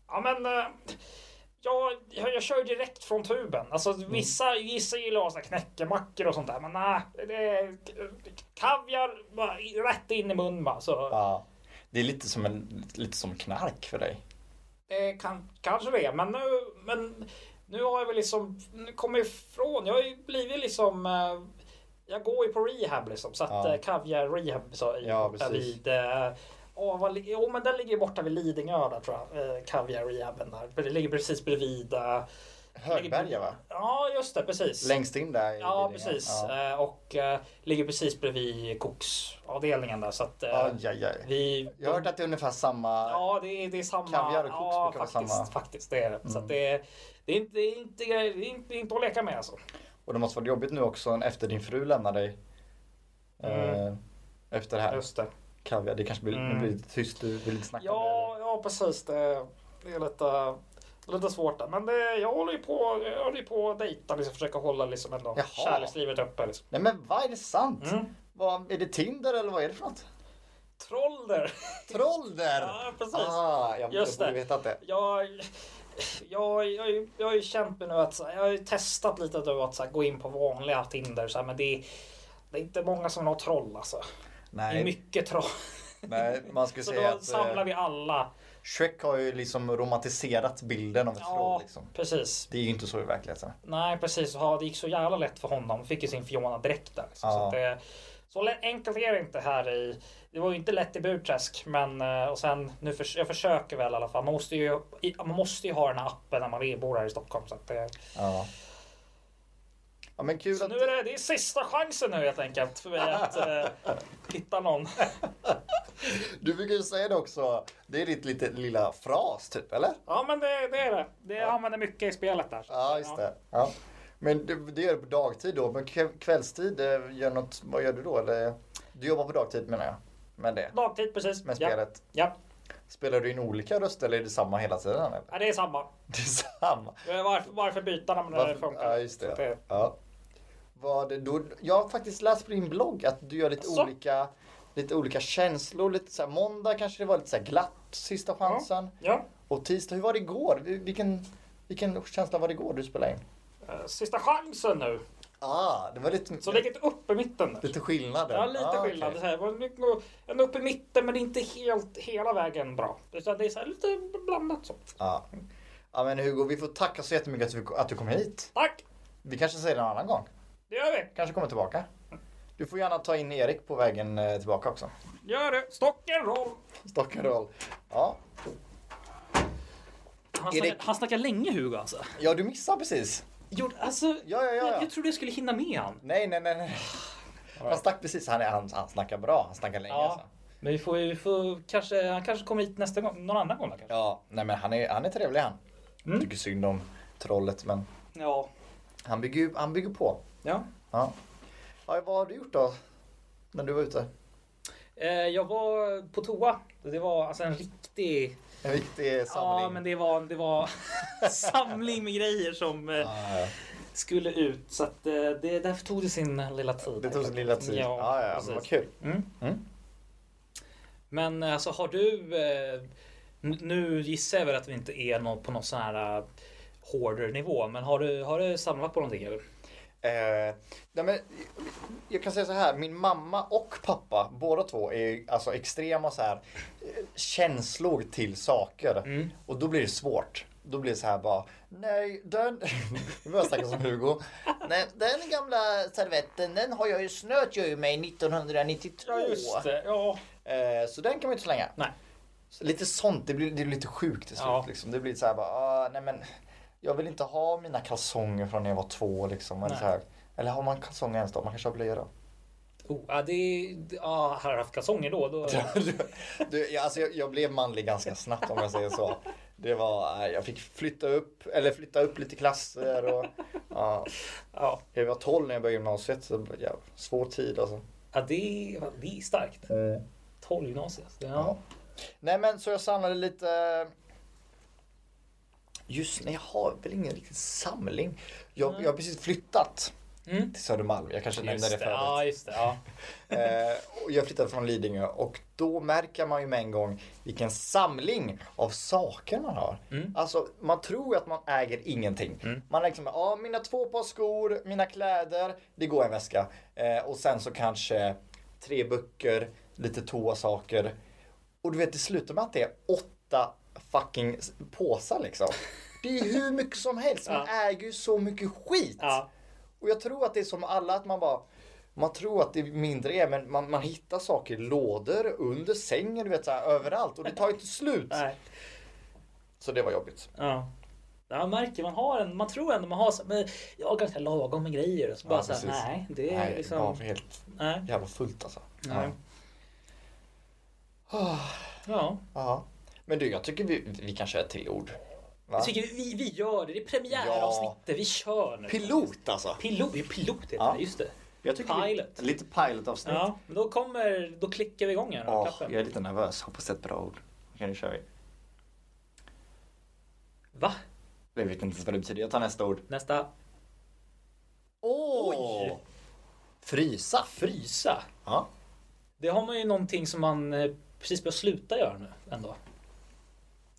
Speaker 3: Ja men... eh, Jag, jag, jag kör direkt från tuben. Alltså vissa, vissa gillar att ha så här knäckemackor och sånt där. Men nej. Det är kaviar bara, i- rätt in i munnen bara. Så
Speaker 2: Ja. Det är lite som, en, lite som knark för dig.
Speaker 3: det kan, kanske det. Men nu, men nu har jag väl liksom nu kommit ifrån. Jag har ju blivit liksom... eh, Jag går ju på rehab liksom. Så att
Speaker 2: Ja.
Speaker 3: eh, kaviar rehab så i,
Speaker 2: Ja, precis.
Speaker 3: vid... eh, Åh, vad, li- jo men den ligger ju borta vid Lidingö där tror jag. Eh, Kaviar rehaben där. Det ligger precis bredvid... eh,
Speaker 2: Högberga va?
Speaker 3: Ja, just det. Precis.
Speaker 2: Längst in där i
Speaker 3: ja,
Speaker 2: Lidingö.
Speaker 3: precis.
Speaker 2: Ja.
Speaker 3: Eh, Och eh, ligger precis bredvid koksavdelningen där. Så att eh,
Speaker 2: Aj, aj, aj.
Speaker 3: vi...
Speaker 2: Jag har hört att det är ungefär samma...
Speaker 3: Ja, det är, det är samma.
Speaker 2: Kaviar och koks
Speaker 3: ja,
Speaker 2: brukar vara
Speaker 3: faktiskt,
Speaker 2: samma. Mm.
Speaker 3: faktiskt. Det är det. Så att det, är- det, är inte, det, är inte, det är inte, det är inte att leka med alltså.
Speaker 2: Och det måste varit jobbigt nu också efter din fru lämnar dig.
Speaker 3: Mm.
Speaker 2: Eh, efter det här.
Speaker 3: Just det.
Speaker 2: Kaviar. Det kanske blir,
Speaker 3: Mm.
Speaker 2: nu blir det lite tyst. Du vill inte snacka om
Speaker 3: Ja, ja precis. Det, det är lite, lite svårt där. Men det, jag håller ju på, jag håller ju på att dejta. Liksom, försöka hålla liksom, ändå
Speaker 2: Jaha.
Speaker 3: kärlekslivet uppe. Liksom.
Speaker 2: det. Nej men vad är det sant?
Speaker 3: Mm.
Speaker 2: Vad, är det Tinder eller vad är det för något?
Speaker 3: Troller!
Speaker 2: Troll där!
Speaker 3: Ja, precis.
Speaker 2: Ah, jag
Speaker 3: Just
Speaker 2: borde
Speaker 3: det.
Speaker 2: vetat det.
Speaker 3: jag, jag, jag, har ju- jag har ju känt mig nu att så här, jag har ju testat lite då att så här, gå in på vanliga Tinder så här, men det är, det är inte många som vill ha troll alltså. Det är
Speaker 2: Nej,
Speaker 3: mycket troll.
Speaker 2: nej man skulle
Speaker 3: Så
Speaker 2: säga
Speaker 3: då
Speaker 2: att
Speaker 3: samlar
Speaker 2: eh,
Speaker 3: vi alla.
Speaker 2: Shrek har ju liksom romantiserat bilden av ett
Speaker 3: Ja,
Speaker 2: troll. Liksom.
Speaker 3: precis.
Speaker 2: Det är ju inte så i verkligheten.
Speaker 3: Nej, precis. Ja, det gick så jävla lätt för honom. Fick ju sin Fiona direkt där. Liksom. Så,
Speaker 2: Ja.
Speaker 3: att det, så lä- enkelt är det inte här i... Det var ju inte lätt i Burträsk, men eh, och sen nu förs- jag försöker väl i alla fall. Man måste ju, i- man måste ju ha den här appen när man är- bor här i Stockholm. Så att det,
Speaker 2: Ja. ja men kul
Speaker 3: Så
Speaker 2: att...
Speaker 3: nu är det, det är sista chansen nu helt enkelt för mig att eh, hitta någon.
Speaker 2: Du brukar ju säga det också. Det är ditt lite, lilla fras typ, eller?
Speaker 3: Ja men det, det är det. Det jag använder mycket i spelet där.
Speaker 2: Ja, just det. Ja. Men det, det gör du på dagtid då. Men kv- kvällstid, eh, gör något, vad gör du då? Eller, du jobbar på dagtid menar jag. Med det.
Speaker 3: Dagtid precis.
Speaker 2: Med
Speaker 3: ja.
Speaker 2: spelet.
Speaker 3: Ja.
Speaker 2: Spelar du in olika röster eller är det samma hela tiden? Eller?
Speaker 3: ja, det är samma.
Speaker 2: Det är samma.
Speaker 3: Eh, Varför, varför byta när det
Speaker 2: Varför-
Speaker 3: funkar?
Speaker 2: Ja, just
Speaker 3: Så att
Speaker 2: det. Ja. Vad det då, jag har faktiskt läst på din blogg att du gör lite,
Speaker 3: Asså?
Speaker 2: olika, lite olika känslor. Lite så här, måndag kanske det var lite så här glatt, sista chansen.
Speaker 3: ja.
Speaker 2: Och tisdag, hur var det igår? Vi- Vilken, vilken känsla var det igår du spelade in?
Speaker 3: Eh, Sista chansen nu.
Speaker 2: Ah, det var lite,
Speaker 3: Så lägg ett upp i mitten. där.
Speaker 2: lite skillnad. där.
Speaker 3: Ja, lite
Speaker 2: Ah, okej.
Speaker 3: skillnad. Okay. Det är så här, en upp i mitten men det är inte helt hela vägen bra. Utan det är så här, lite blandat så.
Speaker 2: Ja. Ah. ja, men Hugo, vi får tacka så jättemycket att du, att du kom hit.
Speaker 3: Tack!
Speaker 2: Vi kanske säger det en annan gång.
Speaker 3: Det gör vi.
Speaker 2: Kanske kommer tillbaka. Du får gärna ta in Erik på vägen eh, tillbaka också.
Speaker 3: Gör det. Stockholm.
Speaker 2: Stockholm. Ja,
Speaker 3: Han,
Speaker 2: Erik-
Speaker 3: snackar- han snackar länge Hugo alltså.
Speaker 2: ja du missade precis.
Speaker 3: Jo, alltså,
Speaker 2: Ja, ja, ja, ja.
Speaker 3: Jag, jag trodde jag skulle hinna med han.
Speaker 2: Nej, nej, nej. nej. Han stack precis. Han, är, han, han snackar bra. Han snackar länge.
Speaker 3: Ja.
Speaker 2: Alltså.
Speaker 3: Men vi får, vi får kanske, han kanske kommer hit nästa gång, någon annan gång då kanske.
Speaker 2: ja. Nej, men han är, han är trevlig han.
Speaker 3: Mm.
Speaker 2: Tycker synd om trollet, men
Speaker 3: Ja.
Speaker 2: han bygger, ju- han bygger på.
Speaker 3: ja.
Speaker 2: Ja. ja. Vad har du gjort då? När du var ute?
Speaker 3: Eh, jag var på toa. Det var alltså en riktig...
Speaker 2: En viktig samling.
Speaker 3: Ja, men det var, det var samling med grejer som eh,
Speaker 2: Ja, ja.
Speaker 3: skulle ut. Så att, eh, det, därför tog det sin lilla tid.
Speaker 2: Det tog sin lilla tid.
Speaker 3: Ja,
Speaker 2: Ja, ja, ja.
Speaker 3: precis.
Speaker 2: Men vad kul.
Speaker 3: Mm.
Speaker 2: Mm.
Speaker 3: Men eh, alltså har du... eh, n- Nu gissar jag väl att vi inte är nå- på någon sån här eh, hårdare nivå. Men har du, har du samlat på någonting eller?
Speaker 2: Eh, nej men, jag kan säga så här, min mamma och pappa, båda två är alltså extrema så här, eh, känslor till saker.
Speaker 3: Mm.
Speaker 2: Och då blir det svårt. Då blir det så här bara, nej den, nu börjar jag snacka som Hugo. Nej, den gamla servetten, den har jag ju snöt jag ju mig 1992.
Speaker 3: det. Ja.
Speaker 2: Eh, så den kan man ju inte slänga.
Speaker 3: Nej.
Speaker 2: Så lite sånt, det blir, det blir lite sjukt till slut.
Speaker 3: Ja.
Speaker 2: Liksom. Det blir så här bara, ah, nej men jag vill inte ha mina kalsonger från när jag var två liksom. Eller,
Speaker 3: Nej.
Speaker 2: så här. eller har man kalsonger ens då? Man kanske har blöja då?
Speaker 3: Oh, ja, det är... det- Ja, hade jag haft kalsonger då, då...
Speaker 2: du, du, jag, alltså, jag, jag blev manlig ganska snabbt om jag säger så. Det var, eh, jag fick flytta upp, eller flytta upp lite klasser och ja,
Speaker 3: Ja,
Speaker 2: jag var 12 när jag började gymnasiet. Så, ja, svår tid alltså.
Speaker 3: ja det, är, det är starkt. 12 gymnasiet. Ja.
Speaker 2: Ja. Nej men så jag samlade lite. Just nej, jag har väl ingen riktig samling. Jag, jag har precis flyttat.
Speaker 1: Mm.
Speaker 2: till Södermalm. Jag kanske nämnde det
Speaker 1: det. Ja,
Speaker 2: förut.
Speaker 1: just det. Ja.
Speaker 2: Eh, och jag flyttade från Lidingö och då märker man ju med en gång vilken samling av saker man har.
Speaker 1: Mm.
Speaker 2: Alltså man tror ju att man äger ingenting.
Speaker 1: Mm.
Speaker 2: Man är liksom, ja mina två par skor, mina kläder, det går i en väska. Eh, och sen så kanske tre böcker, lite toasaker. Och du vet det slutar med att det är åtta fucking s- påsar liksom. Det är hur mycket som helst, man
Speaker 1: Ja.
Speaker 2: äger ju så mycket skit.
Speaker 1: Ja.
Speaker 2: Och jag tror att det är som alla, att man bara man tror att det är mindre är, men man, man hittar saker i lådor, under sängen, du vet så här, överallt. Och det tar ju inte slut.
Speaker 1: Nej.
Speaker 2: Så det var jobbigt.
Speaker 1: Ja. Ja, man märker, man har en, man tror ändå man har så- men jag har ganska lagom med grejer. Och så
Speaker 2: Ja,
Speaker 1: bara så här,
Speaker 2: precis.
Speaker 1: nej, det är
Speaker 2: Nej, det var
Speaker 1: liksom,
Speaker 2: helt
Speaker 1: nej.
Speaker 2: jävla fullt alltså.
Speaker 1: Nej. Ja,
Speaker 2: Ja. Men du, jag tycker vi, vi kan köra ett till ord. Va?
Speaker 1: jag tycker vi, vi gör det. Det är premiäravsnittet, vi kör nu.
Speaker 2: Pilot alltså.
Speaker 1: Pilot, det är pilot heter
Speaker 2: Ja.
Speaker 1: det, just det.
Speaker 2: Jag tycker
Speaker 1: Pilot.
Speaker 2: Vi, lite pilotavsnitt. Ja.
Speaker 1: Ja, men då kommer, då klickar vi igång här. nu, klappen.
Speaker 2: jag är lite nervös. Hoppas det är ett bra ord. Då kan du köra.
Speaker 1: Va?
Speaker 2: Jag vet inte ens vad det betyder. Jag tar nästa ord.
Speaker 1: Nästa.
Speaker 2: Åh!
Speaker 1: Oj.
Speaker 2: Frysa.
Speaker 1: Frysa.
Speaker 2: Ja.
Speaker 1: Det har man ju någonting som man eh, precis börjar sluta göra nu ändå.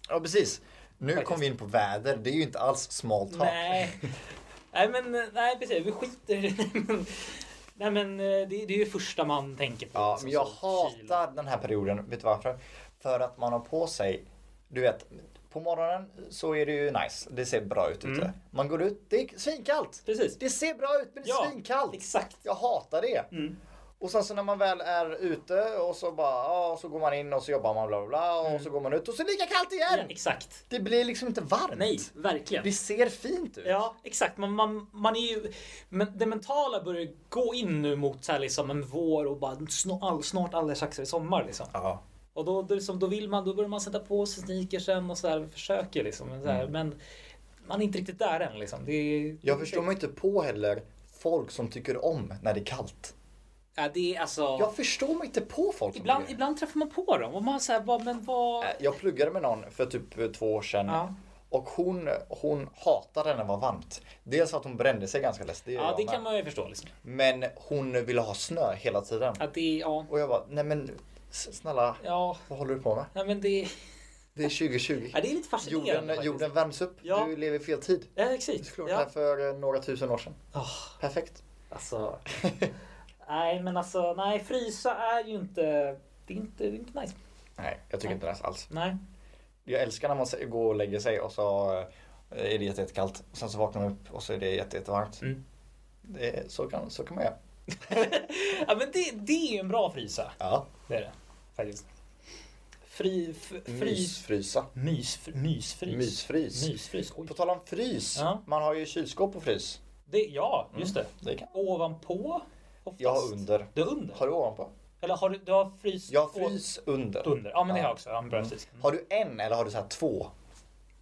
Speaker 2: ja, precis. Nu
Speaker 1: Faktiskt.
Speaker 2: kom vi in på väder. Det är ju inte alls small talk.
Speaker 1: Nej. nej men eh, nej precis, vi skiter i det. Nej men eh, det, det är ju första man tänker på.
Speaker 2: Ja,
Speaker 1: liksom,
Speaker 2: men jag
Speaker 1: så kyla.
Speaker 2: hatar den här perioden. Vet du varför? För att man har på sig, du vet, på morgonen så är det ju nice. Det ser bra ut ute.
Speaker 1: Mm.
Speaker 2: Man går ut, det är svinkallt.
Speaker 1: Precis.
Speaker 2: Det ser bra ut men det är
Speaker 1: Ja,
Speaker 2: svinkallt.
Speaker 1: Exakt.
Speaker 2: Jag hatar det.
Speaker 1: Mm.
Speaker 2: Och sen så när man väl är ute och så bara, ja, så går man in och så jobbar man bla bla bla och så går man ut och så är det lika kallt
Speaker 1: Mm. Ja,
Speaker 2: igen.
Speaker 1: exakt.
Speaker 2: Det blir liksom inte varmt.
Speaker 1: Nej, verkligen.
Speaker 2: Det ser fint ut.
Speaker 1: Ja, exakt. Man, man, man är ju, men det mentala börjar gå in nu mot så här liksom en vår och bara snart, all, snart alldeles strax är det sommar. Liksom.
Speaker 2: Ja.
Speaker 1: Och då, då, liksom, då, vill man, då börjar man sätta på sig sneakersen och så här, försöker liksom. Men, så här, men man är inte riktigt där än liksom. Det, är-
Speaker 2: Mm. Jag förstår mig inte på heller folk som tycker om när det är kallt.
Speaker 1: Ja, det är alltså...
Speaker 2: Jag förstår mig inte på folk som
Speaker 1: Ibland,
Speaker 2: tycker-
Speaker 1: ibland träffar man på dem och man säger vad, men vad...
Speaker 2: Äh, Jag pluggade med någon för typ två år sedan.
Speaker 1: Ja.
Speaker 2: Och hon, hon hatade när det var varmt. Dels för att hon brände sig ganska lätt. Det gör
Speaker 1: Ja,
Speaker 2: jag
Speaker 1: det
Speaker 2: med.
Speaker 1: kan man ju förstå liksom.
Speaker 2: Men hon ville ha snö hela tiden.
Speaker 1: Att det är, ja,
Speaker 2: Och jag bara, nej men s- snälla,
Speaker 1: ja,
Speaker 2: vad håller du på med?
Speaker 1: nej, men det,
Speaker 2: Det är 2020.
Speaker 1: ja, det är lite fascinerande
Speaker 2: Jorden,
Speaker 1: faktiskt.
Speaker 2: jorden värms upp.
Speaker 1: Ja.
Speaker 2: Du lever i fel tid.
Speaker 1: Ja,
Speaker 2: Du
Speaker 1: exakt.
Speaker 2: skulle varit
Speaker 1: Ja.
Speaker 2: här för eh, några tusen år sedan.
Speaker 1: Åh,
Speaker 2: Perfekt.
Speaker 1: alltså. nej, men alltså, nej, frysa är ju inte... Det är inte, det är inte nice.
Speaker 2: Nej, jag tycker inte det alls.
Speaker 1: Nej.
Speaker 2: Jag älskar när man se- går och lägger sig och så eh, är det jätte- jättekallt. Och sen så vaknar man upp och så är det jätte- jättevarmt.
Speaker 1: Mm.
Speaker 2: Det är, så, kan, så kan man göra.
Speaker 1: Ja, men det, det är ju en bra frysa.
Speaker 2: Ja.
Speaker 1: Det är det. Faktiskt. Fri... F, frys...
Speaker 2: Mysfrysa.
Speaker 1: Mys, mysfrys.
Speaker 2: Mysfrys.
Speaker 1: Mysfrys. Oj.
Speaker 2: På tal om frys.
Speaker 1: Ja.
Speaker 2: Man har ju kylskåp och frys.
Speaker 1: Det, ja, just det.
Speaker 2: Det kan.
Speaker 1: Ovanpå? Oftast.
Speaker 2: Jag har under.
Speaker 1: Du har under?
Speaker 2: Har du ovanpå?
Speaker 1: Eller har du, du har frys...
Speaker 2: Jag har frys under.
Speaker 1: och- Under? Ja men det
Speaker 2: Ja. Mm.
Speaker 1: har jag också. Ja, men bra, precis.
Speaker 2: Har du en eller har du så här två?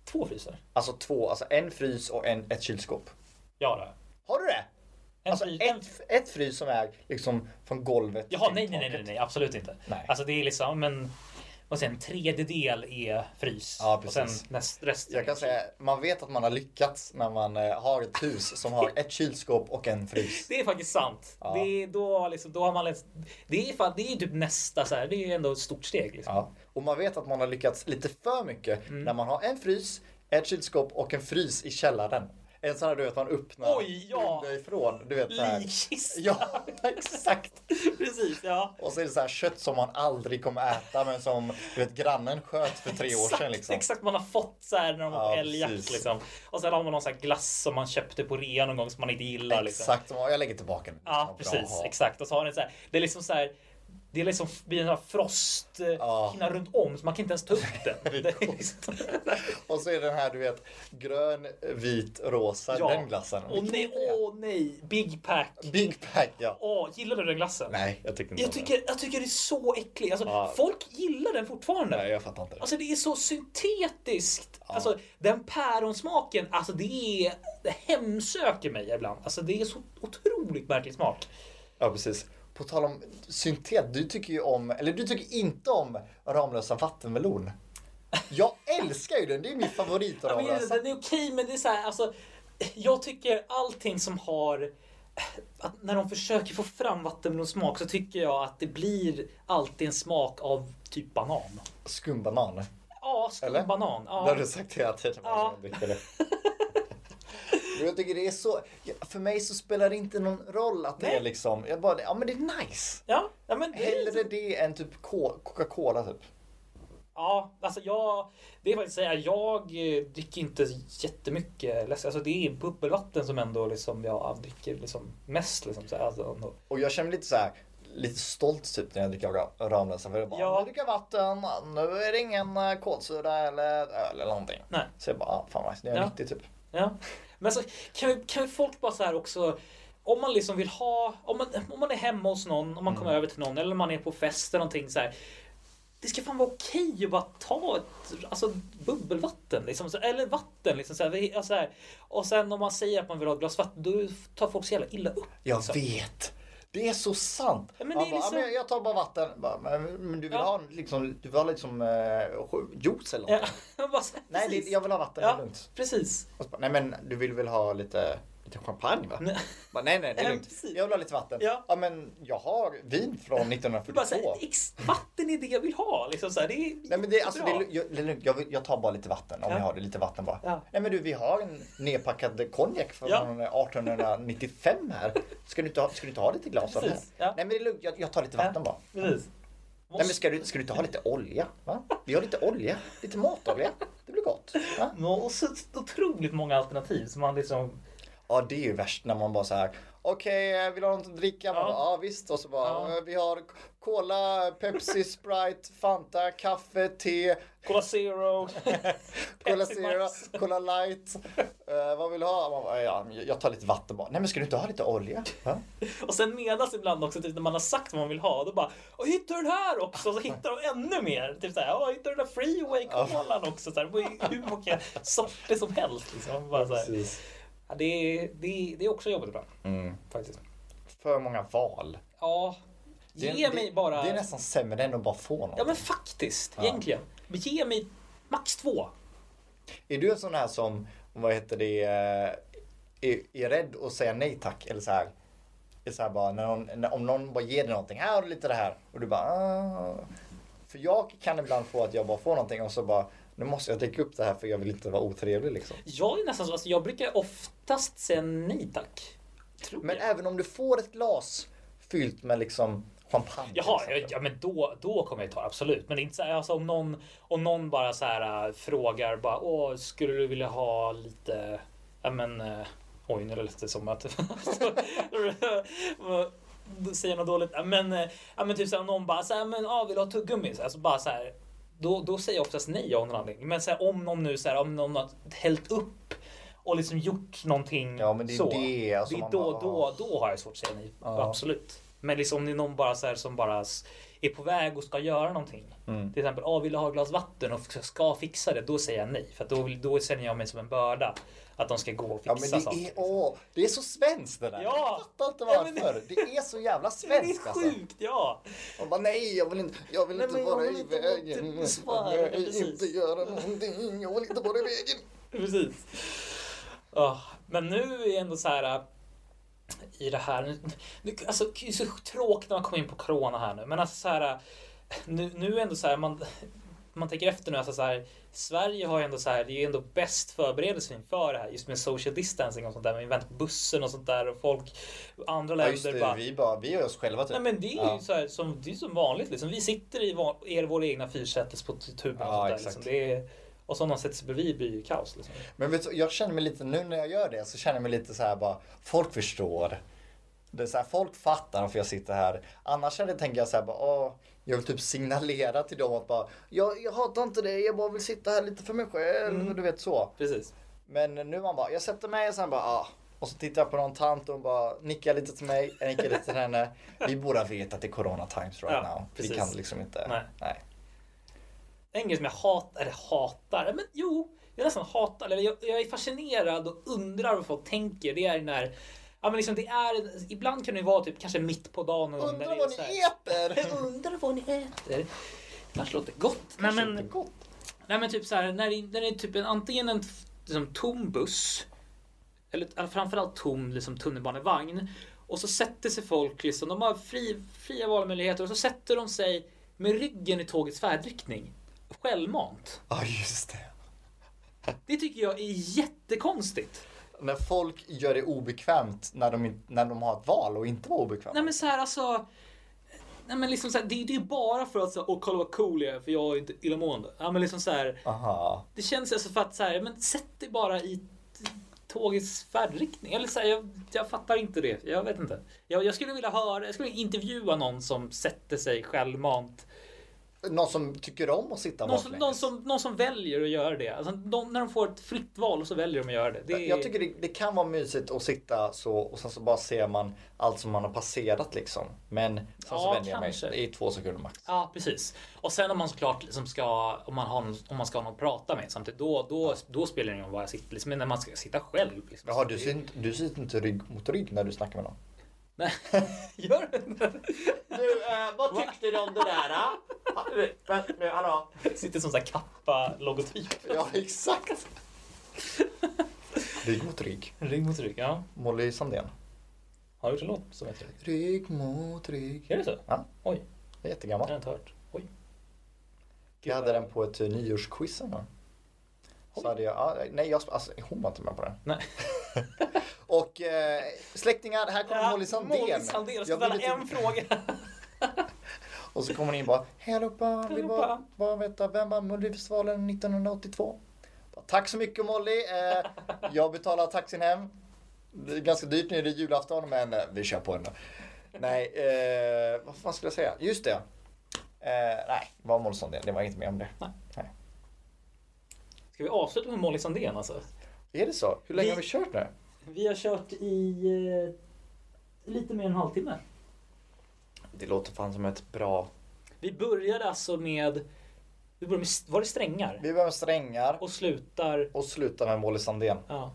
Speaker 1: Två frysar?
Speaker 2: Alltså två, alltså en frys och en, ett kylskåp.
Speaker 1: Ja det har jag.
Speaker 2: Har du det?
Speaker 1: En
Speaker 2: alltså
Speaker 1: frys... En...
Speaker 2: ett, ett frys som är liksom från golvet
Speaker 1: Jaha,
Speaker 2: till
Speaker 1: nej, nej, nej, nej,
Speaker 2: taket.
Speaker 1: nej, absolut inte.
Speaker 2: Nej.
Speaker 1: Alltså det är liksom en... Vad säger jag, en tredjedel är frys.
Speaker 2: Ja,
Speaker 1: Och
Speaker 2: precis.
Speaker 1: sen näst, resten
Speaker 2: Jag kan
Speaker 1: är-
Speaker 2: säga, man vet att man har lyckats när man eh, har ett hus som har ett kylskåp och en frys.
Speaker 1: Det är faktiskt sant.
Speaker 2: Ja.
Speaker 1: Det är då, liksom, då har man... läst- Det är, fan, det är typ nästa så här. Det är ändå ett stort steg. Liksom.
Speaker 2: Ja. Och man vet att man har lyckats lite för mycket
Speaker 1: Mm.
Speaker 2: när man har en frys, ett kylskåp och en frys i källaren. En sån här du vet man öppnar
Speaker 1: Oj, ja.
Speaker 2: underifrån. Du vet så här.
Speaker 1: Likkista!
Speaker 2: Ja, exakt.
Speaker 1: precis. Ja.
Speaker 2: Och så är det så här kött som man aldrig kommer äta men som du vet grannen sköt för tre år
Speaker 1: Exakt,
Speaker 2: sedan liksom.
Speaker 1: Exakt, man har fått så här när de var på
Speaker 2: Ja,
Speaker 1: älgjakt
Speaker 2: precis.
Speaker 1: liksom. Och sen har man någon så här glass som man köpte på rea någon gång som man inte gillar. Liksom.
Speaker 2: Exakt, som, jag lägger tillbaka den.
Speaker 1: Ja,
Speaker 2: Vad bra att
Speaker 1: precis.
Speaker 2: ha.
Speaker 1: Exakt. Och så har den så här, det är liksom så här, det är liksom blir en sån här
Speaker 2: Ja.
Speaker 1: frosthinna runt om så man kan inte ens ta upp den.
Speaker 2: är
Speaker 1: Det är
Speaker 2: coolt.
Speaker 1: liksom-
Speaker 2: Och så är den här du vet grön, vit, rosa,
Speaker 1: Ja.
Speaker 2: den glassen.
Speaker 1: Åh nej, åh nej, Big Pack.
Speaker 2: Big pack ja.
Speaker 1: Åh, gillar du den glassen?
Speaker 2: Nej, jag tycker inte
Speaker 1: Jag
Speaker 2: om den.
Speaker 1: tycker, jag tycker det är så äckligt. Alltså,
Speaker 2: Ja.
Speaker 1: Folk gillar den fortfarande.
Speaker 2: Nej, jag fattar inte.
Speaker 1: Alltså det är så syntetiskt. Alltså den päronsmaken, alltså det är... Det hemsöker mig ibland. Alltså det är så otroligt märklig smak.
Speaker 2: Ja, precis. På tal om syntet, du tycker ju om, eller du tycker inte om Ramlösa vattenmelon. Jag älskar ju den, det är min favorit av
Speaker 1: Ja, men,
Speaker 2: Ramlösa.
Speaker 1: den är okej men det är så här, alltså... Jag tycker allting som har att när de försöker få fram vattenmelonsmak så tycker jag att det blir alltid en smak av typ banan.
Speaker 2: Skumbanan.
Speaker 1: Ja,
Speaker 2: Eller?
Speaker 1: skumbanan.
Speaker 2: Det har
Speaker 1: Ja.
Speaker 2: du sagt hela tiden.
Speaker 1: Ja.
Speaker 2: Jag dricker det. Men Jag tycker det är så, för mig så spelar det inte någon roll att det
Speaker 1: Nej.
Speaker 2: är liksom, jag bara, ja men det är nice.
Speaker 1: Ja, ja, men det är
Speaker 2: Hellre det än typ ko- Coca-Cola typ.
Speaker 1: Ja, alltså jag... Det är faktiskt att säga, jag eh, dricker inte jättemycket läsk. Alltså det är bubbelvatten som ändå liksom jag dricker liksom mest. Liksom, så här, alltså, ändå.
Speaker 2: Och jag känner lite så här lite stolt typ när jag dricker Ra- Ramlösa för jag bara,
Speaker 1: Ja.
Speaker 2: ja. dricker vatten, nu är det ingen eh, kolsyra eller öl eller någonting.
Speaker 1: Nej.
Speaker 2: Så jag bara, ah, fan vad nice, det är
Speaker 1: Ja.
Speaker 2: nyttigt typ.
Speaker 1: Ja. Men så kan, vi, kan vi folk bara så här också... Om man liksom vill ha... Om man, om man är hemma hos någon, om man kommer över till någon eller om man är på fest eller någonting så här. Det ska fan vara okej att bara ta ett alltså, bubbelvatten. Liksom, så, eller vatten. Liksom, så här, vi- ja, så här. Och sen om man säger att man vill ha ett glas vatten, då tar folk så jävla illa upp.
Speaker 2: Jag
Speaker 1: liksom.
Speaker 2: vet! Det är så sant!
Speaker 1: Ja, men
Speaker 2: Man
Speaker 1: det är
Speaker 2: bara,
Speaker 1: liksom-
Speaker 2: "Ah, men jag tar bara vatten. Bara, men, men du vill
Speaker 1: Ja.
Speaker 2: ha liksom, du vill ha liksom eh, juice eller
Speaker 1: Ja,
Speaker 2: någonting?
Speaker 1: bara så här,
Speaker 2: Nej,
Speaker 1: precis.
Speaker 2: det, jag vill ha vatten,
Speaker 1: Ja.
Speaker 2: det är lugnt.
Speaker 1: Precis.
Speaker 2: Och så bara, nej men du vill väl ha lite, lite champagne va?
Speaker 1: Nej.
Speaker 2: Bara, nej nej, det
Speaker 1: Ja,
Speaker 2: är lugnt.
Speaker 1: precis.
Speaker 2: Jag vill ha lite vatten.
Speaker 1: Ja.
Speaker 2: men jag har vin från
Speaker 1: Du bara
Speaker 2: 1942.
Speaker 1: säger ex- vatten är det jag vill ha. Liksom så här, det är
Speaker 2: Nej men det, alltså, det,
Speaker 1: jättebra.
Speaker 2: är lu- jag, det är lugnt. jag, vill- jag tar bara lite vatten om
Speaker 1: Ja.
Speaker 2: jag har det. Lite vatten bara.
Speaker 1: Ja.
Speaker 2: Nej men du, vi har en nedpackad konjak från
Speaker 1: Ja.
Speaker 2: 1895 här. Ska du inte ha, ska du inte ha lite glas av det här?
Speaker 1: Precis, ja.
Speaker 2: Nej men det är lugnt, jag, jag tar lite vatten bara.
Speaker 1: Precis.
Speaker 2: Nej men ska du, ska du inte ha lite olja? Va? Vi har lite olja, lite matolja. Det blir gott. Va?
Speaker 1: Nå, Och så otroligt många alternativ som man liksom...
Speaker 2: Ja det är ju värst när man bara så här. Okej, eh, vill du ha något att dricka? Man
Speaker 1: Ja.
Speaker 2: bara, ja visst. Och så bara,
Speaker 1: Ja.
Speaker 2: "Eh, vi har Cola, Pepsi, Sprite, Fanta, kaffe, te,
Speaker 1: Cola Zero.
Speaker 2: Cola
Speaker 1: Pepsi
Speaker 2: Zero,
Speaker 1: Max.
Speaker 2: Cola Light. Eh, vad vill du ha? Man bara, ja, jag tar lite vatten bara. Nej men ska du inte ha lite olja? Va?
Speaker 1: Och sen menas ibland också typ, när man har sagt vad man vill ha. Då bara och hittar du den här också? Så hittar de ännu mer. Typ såhär, ja hittar du den där Freeway Colan också? Så här, det är hur många sorter som helst. Liksom. Bara så här. Ja, det, är- det, är- det är också jobbigt ibland.
Speaker 2: Mm.
Speaker 1: Faktiskt.
Speaker 2: För många val.
Speaker 1: Ja.
Speaker 2: Det
Speaker 1: Ge
Speaker 2: är-
Speaker 1: mig
Speaker 2: det,
Speaker 1: bara...
Speaker 2: Det är nästan sämre än att bara få något.
Speaker 1: Ja men faktiskt,
Speaker 2: Ja.
Speaker 1: egentligen. Ge mig max två.
Speaker 2: Är du en sån här som, vad heter det, eh, är, är rädd att säga nej tack? Eller så här, är så här bara, när någon, när, om någon bara ger dig någonting, här har du lite det här. Och du bara, ah. För jag kan ibland få att jag bara får någonting och så bara, nu måste jag dricka upp det här för jag vill inte vara otrevlig liksom.
Speaker 1: Jag är nästan så, alltså, jag brukar oftast säga nej tack. Tror
Speaker 2: Men
Speaker 1: jag.
Speaker 2: även om du får ett glas fyllt med liksom champagne. till
Speaker 1: Jaha,
Speaker 2: exempel.
Speaker 1: ja, ja men då, då kommer jag ta det, absolut. Men det är inte så här, alltså, om, någon, om någon bara så här äh, frågar bara åh skulle du vilja ha lite, ja men äh, oj nu lät det som att Då säger jag något dåligt. Ja men, äh, ja, men typ så här, om någon bara så här, men ja vill du ha tuggummi? Så, här, så bara så här, då, då säger jag oftast nej av någon anledning. Men så här, om någon nu så här, om någon har hällt upp och liksom gjort någonting
Speaker 2: Ja, men det är
Speaker 1: så.
Speaker 2: det, alltså,
Speaker 1: det är
Speaker 2: man
Speaker 1: då,
Speaker 2: bara,
Speaker 1: då,
Speaker 2: ja.
Speaker 1: då har jag svårt att säga nej.
Speaker 2: Ja.
Speaker 1: Absolut. Men liksom om det är någon bara så här som bara s- är på väg och ska göra någonting.
Speaker 2: Mm.
Speaker 1: Till exempel, ah, vill du ha ett glas vatten och f- ska fixa det? Då säger jag nej. För att då, vill- då känner jag mig som en börda. Att de ska gå och
Speaker 2: Ja
Speaker 1: fixa
Speaker 2: men det
Speaker 1: saker. liksom.
Speaker 2: är, åh, det är så svenskt det där.
Speaker 1: Ja.
Speaker 2: Jag fattar inte
Speaker 1: Ja,
Speaker 2: varför.
Speaker 1: men
Speaker 2: det... är så jävla
Speaker 1: det är
Speaker 2: svenskt alltså.
Speaker 1: sjukt, ja.
Speaker 2: Man bara nej, jag vill inte, jag vill
Speaker 1: Nej,
Speaker 2: inte
Speaker 1: men jag
Speaker 2: vara
Speaker 1: vill
Speaker 2: i
Speaker 1: inte vara
Speaker 2: vägen.
Speaker 1: typ besvärlig,
Speaker 2: jag vill
Speaker 1: precis.
Speaker 2: inte göra någonting, jag vill inte vara i vägen.
Speaker 1: Precis. Ja, men nu är ändå så här äh, i det här. Nu, nu, alltså, det är så tråkigt när man kommer in på corona här nu. Men alltså så här. äh, Nu, nu är ändå så här. Man, man tänker efter nu. Alltså så här, Sverige har ju ändå så här. Det är ju ändå bäst förberedelse inför det här. Just med social distancing och sånt där. Man väntar på bussen och sånt där. Och folk. Andra
Speaker 2: Ja,
Speaker 1: länder
Speaker 2: just det,
Speaker 1: bara.
Speaker 2: vi bara, vi är oss själva typ.
Speaker 1: Nej men det är ju
Speaker 2: Ja.
Speaker 1: så här, som, det är som vanligt liksom. Vi sitter i va- er, våra egna fyrsätes på t- tuben och
Speaker 2: Ja,
Speaker 1: sånt där.
Speaker 2: exakt.
Speaker 1: Liksom. Det är, och så om någon sätter sig bredvid blir det ju kaos. Liksom.
Speaker 2: Men vet du, jag känner mig lite, nu när jag gör det så känner jag mig lite så här bara, folk förstår. Det är så här, folk fattar varför jag sitter här. Annars hade jag tänkt jag så här bara, åh, jag vill typ signalera till dem att bara, jag, jag hatar inte dig, jag bara vill sitta här lite för mig själv,
Speaker 1: Mm.
Speaker 2: du vet så.
Speaker 1: Precis.
Speaker 2: Men nu man bara, jag sätter mig och sen bara, ah. Och så tittar jag på någon tant och hon bara nickar lite till mig, jag nickar lite till henne. Vi borde veta att det är corona times right
Speaker 1: Ja,
Speaker 2: now.
Speaker 1: precis.
Speaker 2: Vi kan liksom inte.
Speaker 1: Nej.
Speaker 2: Nej.
Speaker 1: En grej som jag hatar, eller hatar, men jo, jag nästan hatar, eller jag, jag är fascinerad och undrar vad folk tänker. Det är när, ja men liksom det är, ibland kan det ju vara typ kanske mitt på dagen. och när det
Speaker 2: Undrar
Speaker 1: är
Speaker 2: vad
Speaker 1: så här-
Speaker 2: ni äter!
Speaker 1: Jag undrar vad ni äter. Kanske låter gott. Nej
Speaker 2: Det är
Speaker 1: men,
Speaker 2: gott.
Speaker 1: nej men typ så här, när det, när det är typ en, antingen en f- liksom, tom buss eller framförallt tom liksom, tunnelbanevagn. Och så sätter sig folk, liksom, de har fri, fria valmöjligheter och så sätter de sig med ryggen i tågets färdriktning. Självmant.
Speaker 2: Ja, just det.
Speaker 1: Det tycker jag är jättekonstigt.
Speaker 2: När folk gör det obekvämt när de, in- när de har ett val och inte vara obekväma.
Speaker 1: Nej men så här alltså. Nej men liksom så här, det, det är bara för att så här, åh kolla vad cool jag är för jag är inte illamående. Ja men liksom så här.
Speaker 2: Aha.
Speaker 1: Det känns alltså för att så här, men sätt dig bara i t- tågets färdriktning. Eller så här, jag, jag fattar inte det. Jag vet inte. Jag, jag skulle vilja höra, jag skulle intervjua någon som sätter sig självmant.
Speaker 2: Någon som tycker om att sitta
Speaker 1: Någon som,
Speaker 2: baklänges.
Speaker 1: någon, som, någon som väljer att göra det. Alltså, de, när de får ett fritt val så väljer de att göra det. det är,
Speaker 2: Jag tycker det, det kan vara mysigt att sitta så och sen så bara ser man allt som man har passerat liksom. Men sen så
Speaker 1: Ja,
Speaker 2: vänjer jag mig
Speaker 1: kanske.
Speaker 2: i två sekunder max.
Speaker 1: Ja, precis. Och sen om man såklart liksom ska, om man, har, någon- om man ska ha någon att prata med samtidigt, då, då, då spelar det ingen roll var jag sitter. Liksom, men när man ska sitta själv. Liksom,
Speaker 2: Jaha,
Speaker 1: så
Speaker 2: du
Speaker 1: det-
Speaker 2: sitter inte- du sitter inte rygg mot rygg när du snackar med någon?
Speaker 1: Nej, gör du inte?
Speaker 4: Du, eh, vad tyckte du om det där? eh? Ha, vänta nu, hallå?
Speaker 1: Sitter som sån här kappa-logotyp.
Speaker 2: Ja, exakt. rygg mot rygg.
Speaker 1: Rygg mot rygg, ja.
Speaker 2: Molly Sandén.
Speaker 1: Har du gjort en låt som heter det?
Speaker 2: Rygg mot rygg.
Speaker 1: Är det så?
Speaker 2: Ja.
Speaker 1: Oj,
Speaker 2: Det är
Speaker 1: det har
Speaker 2: jättegammalt.
Speaker 1: jag inte hört. Oj.
Speaker 2: Jag hade den på ett eh, nyårsquiz en gång. Så hade jag, ja, nej jag, alltså, hon var inte med på den.
Speaker 1: Nej.
Speaker 2: Och eh, släktingar, här kommer Molly Sandén.
Speaker 1: Molly Sandén. Jag ska
Speaker 2: vill
Speaker 1: ställa en
Speaker 2: inte-
Speaker 1: fråga.
Speaker 2: Och så kommer hon in bara, hej allihopa, vill bara,
Speaker 1: allihopa."
Speaker 2: bara veta, vem vann Melodifestivalen 1982? Bara, Tack så mycket Molly, eh, jag betalar taxin hem. Det är ganska dyrt nu, det är julafton, men eh, vi kör på ändå. Nej, eh, vad fan skulle jag säga? Just det. Eh, nej, det var Molly Sandén, det var inte mer om det.
Speaker 1: Nej.
Speaker 2: Nej.
Speaker 1: Ska vi avsluta med Molly Sandén alltså?
Speaker 2: Är det så? Hur länge
Speaker 1: Vi-
Speaker 2: har vi kört nu?
Speaker 1: Vi har kört i eh, lite mer än en halvtimme.
Speaker 2: Det låter fan som ett bra...
Speaker 1: Vi började alltså med, vi började med var det strängar?
Speaker 2: Vi behöver strängar
Speaker 1: Och slutar...
Speaker 2: och sluta med Molly Sandén.
Speaker 1: Ja.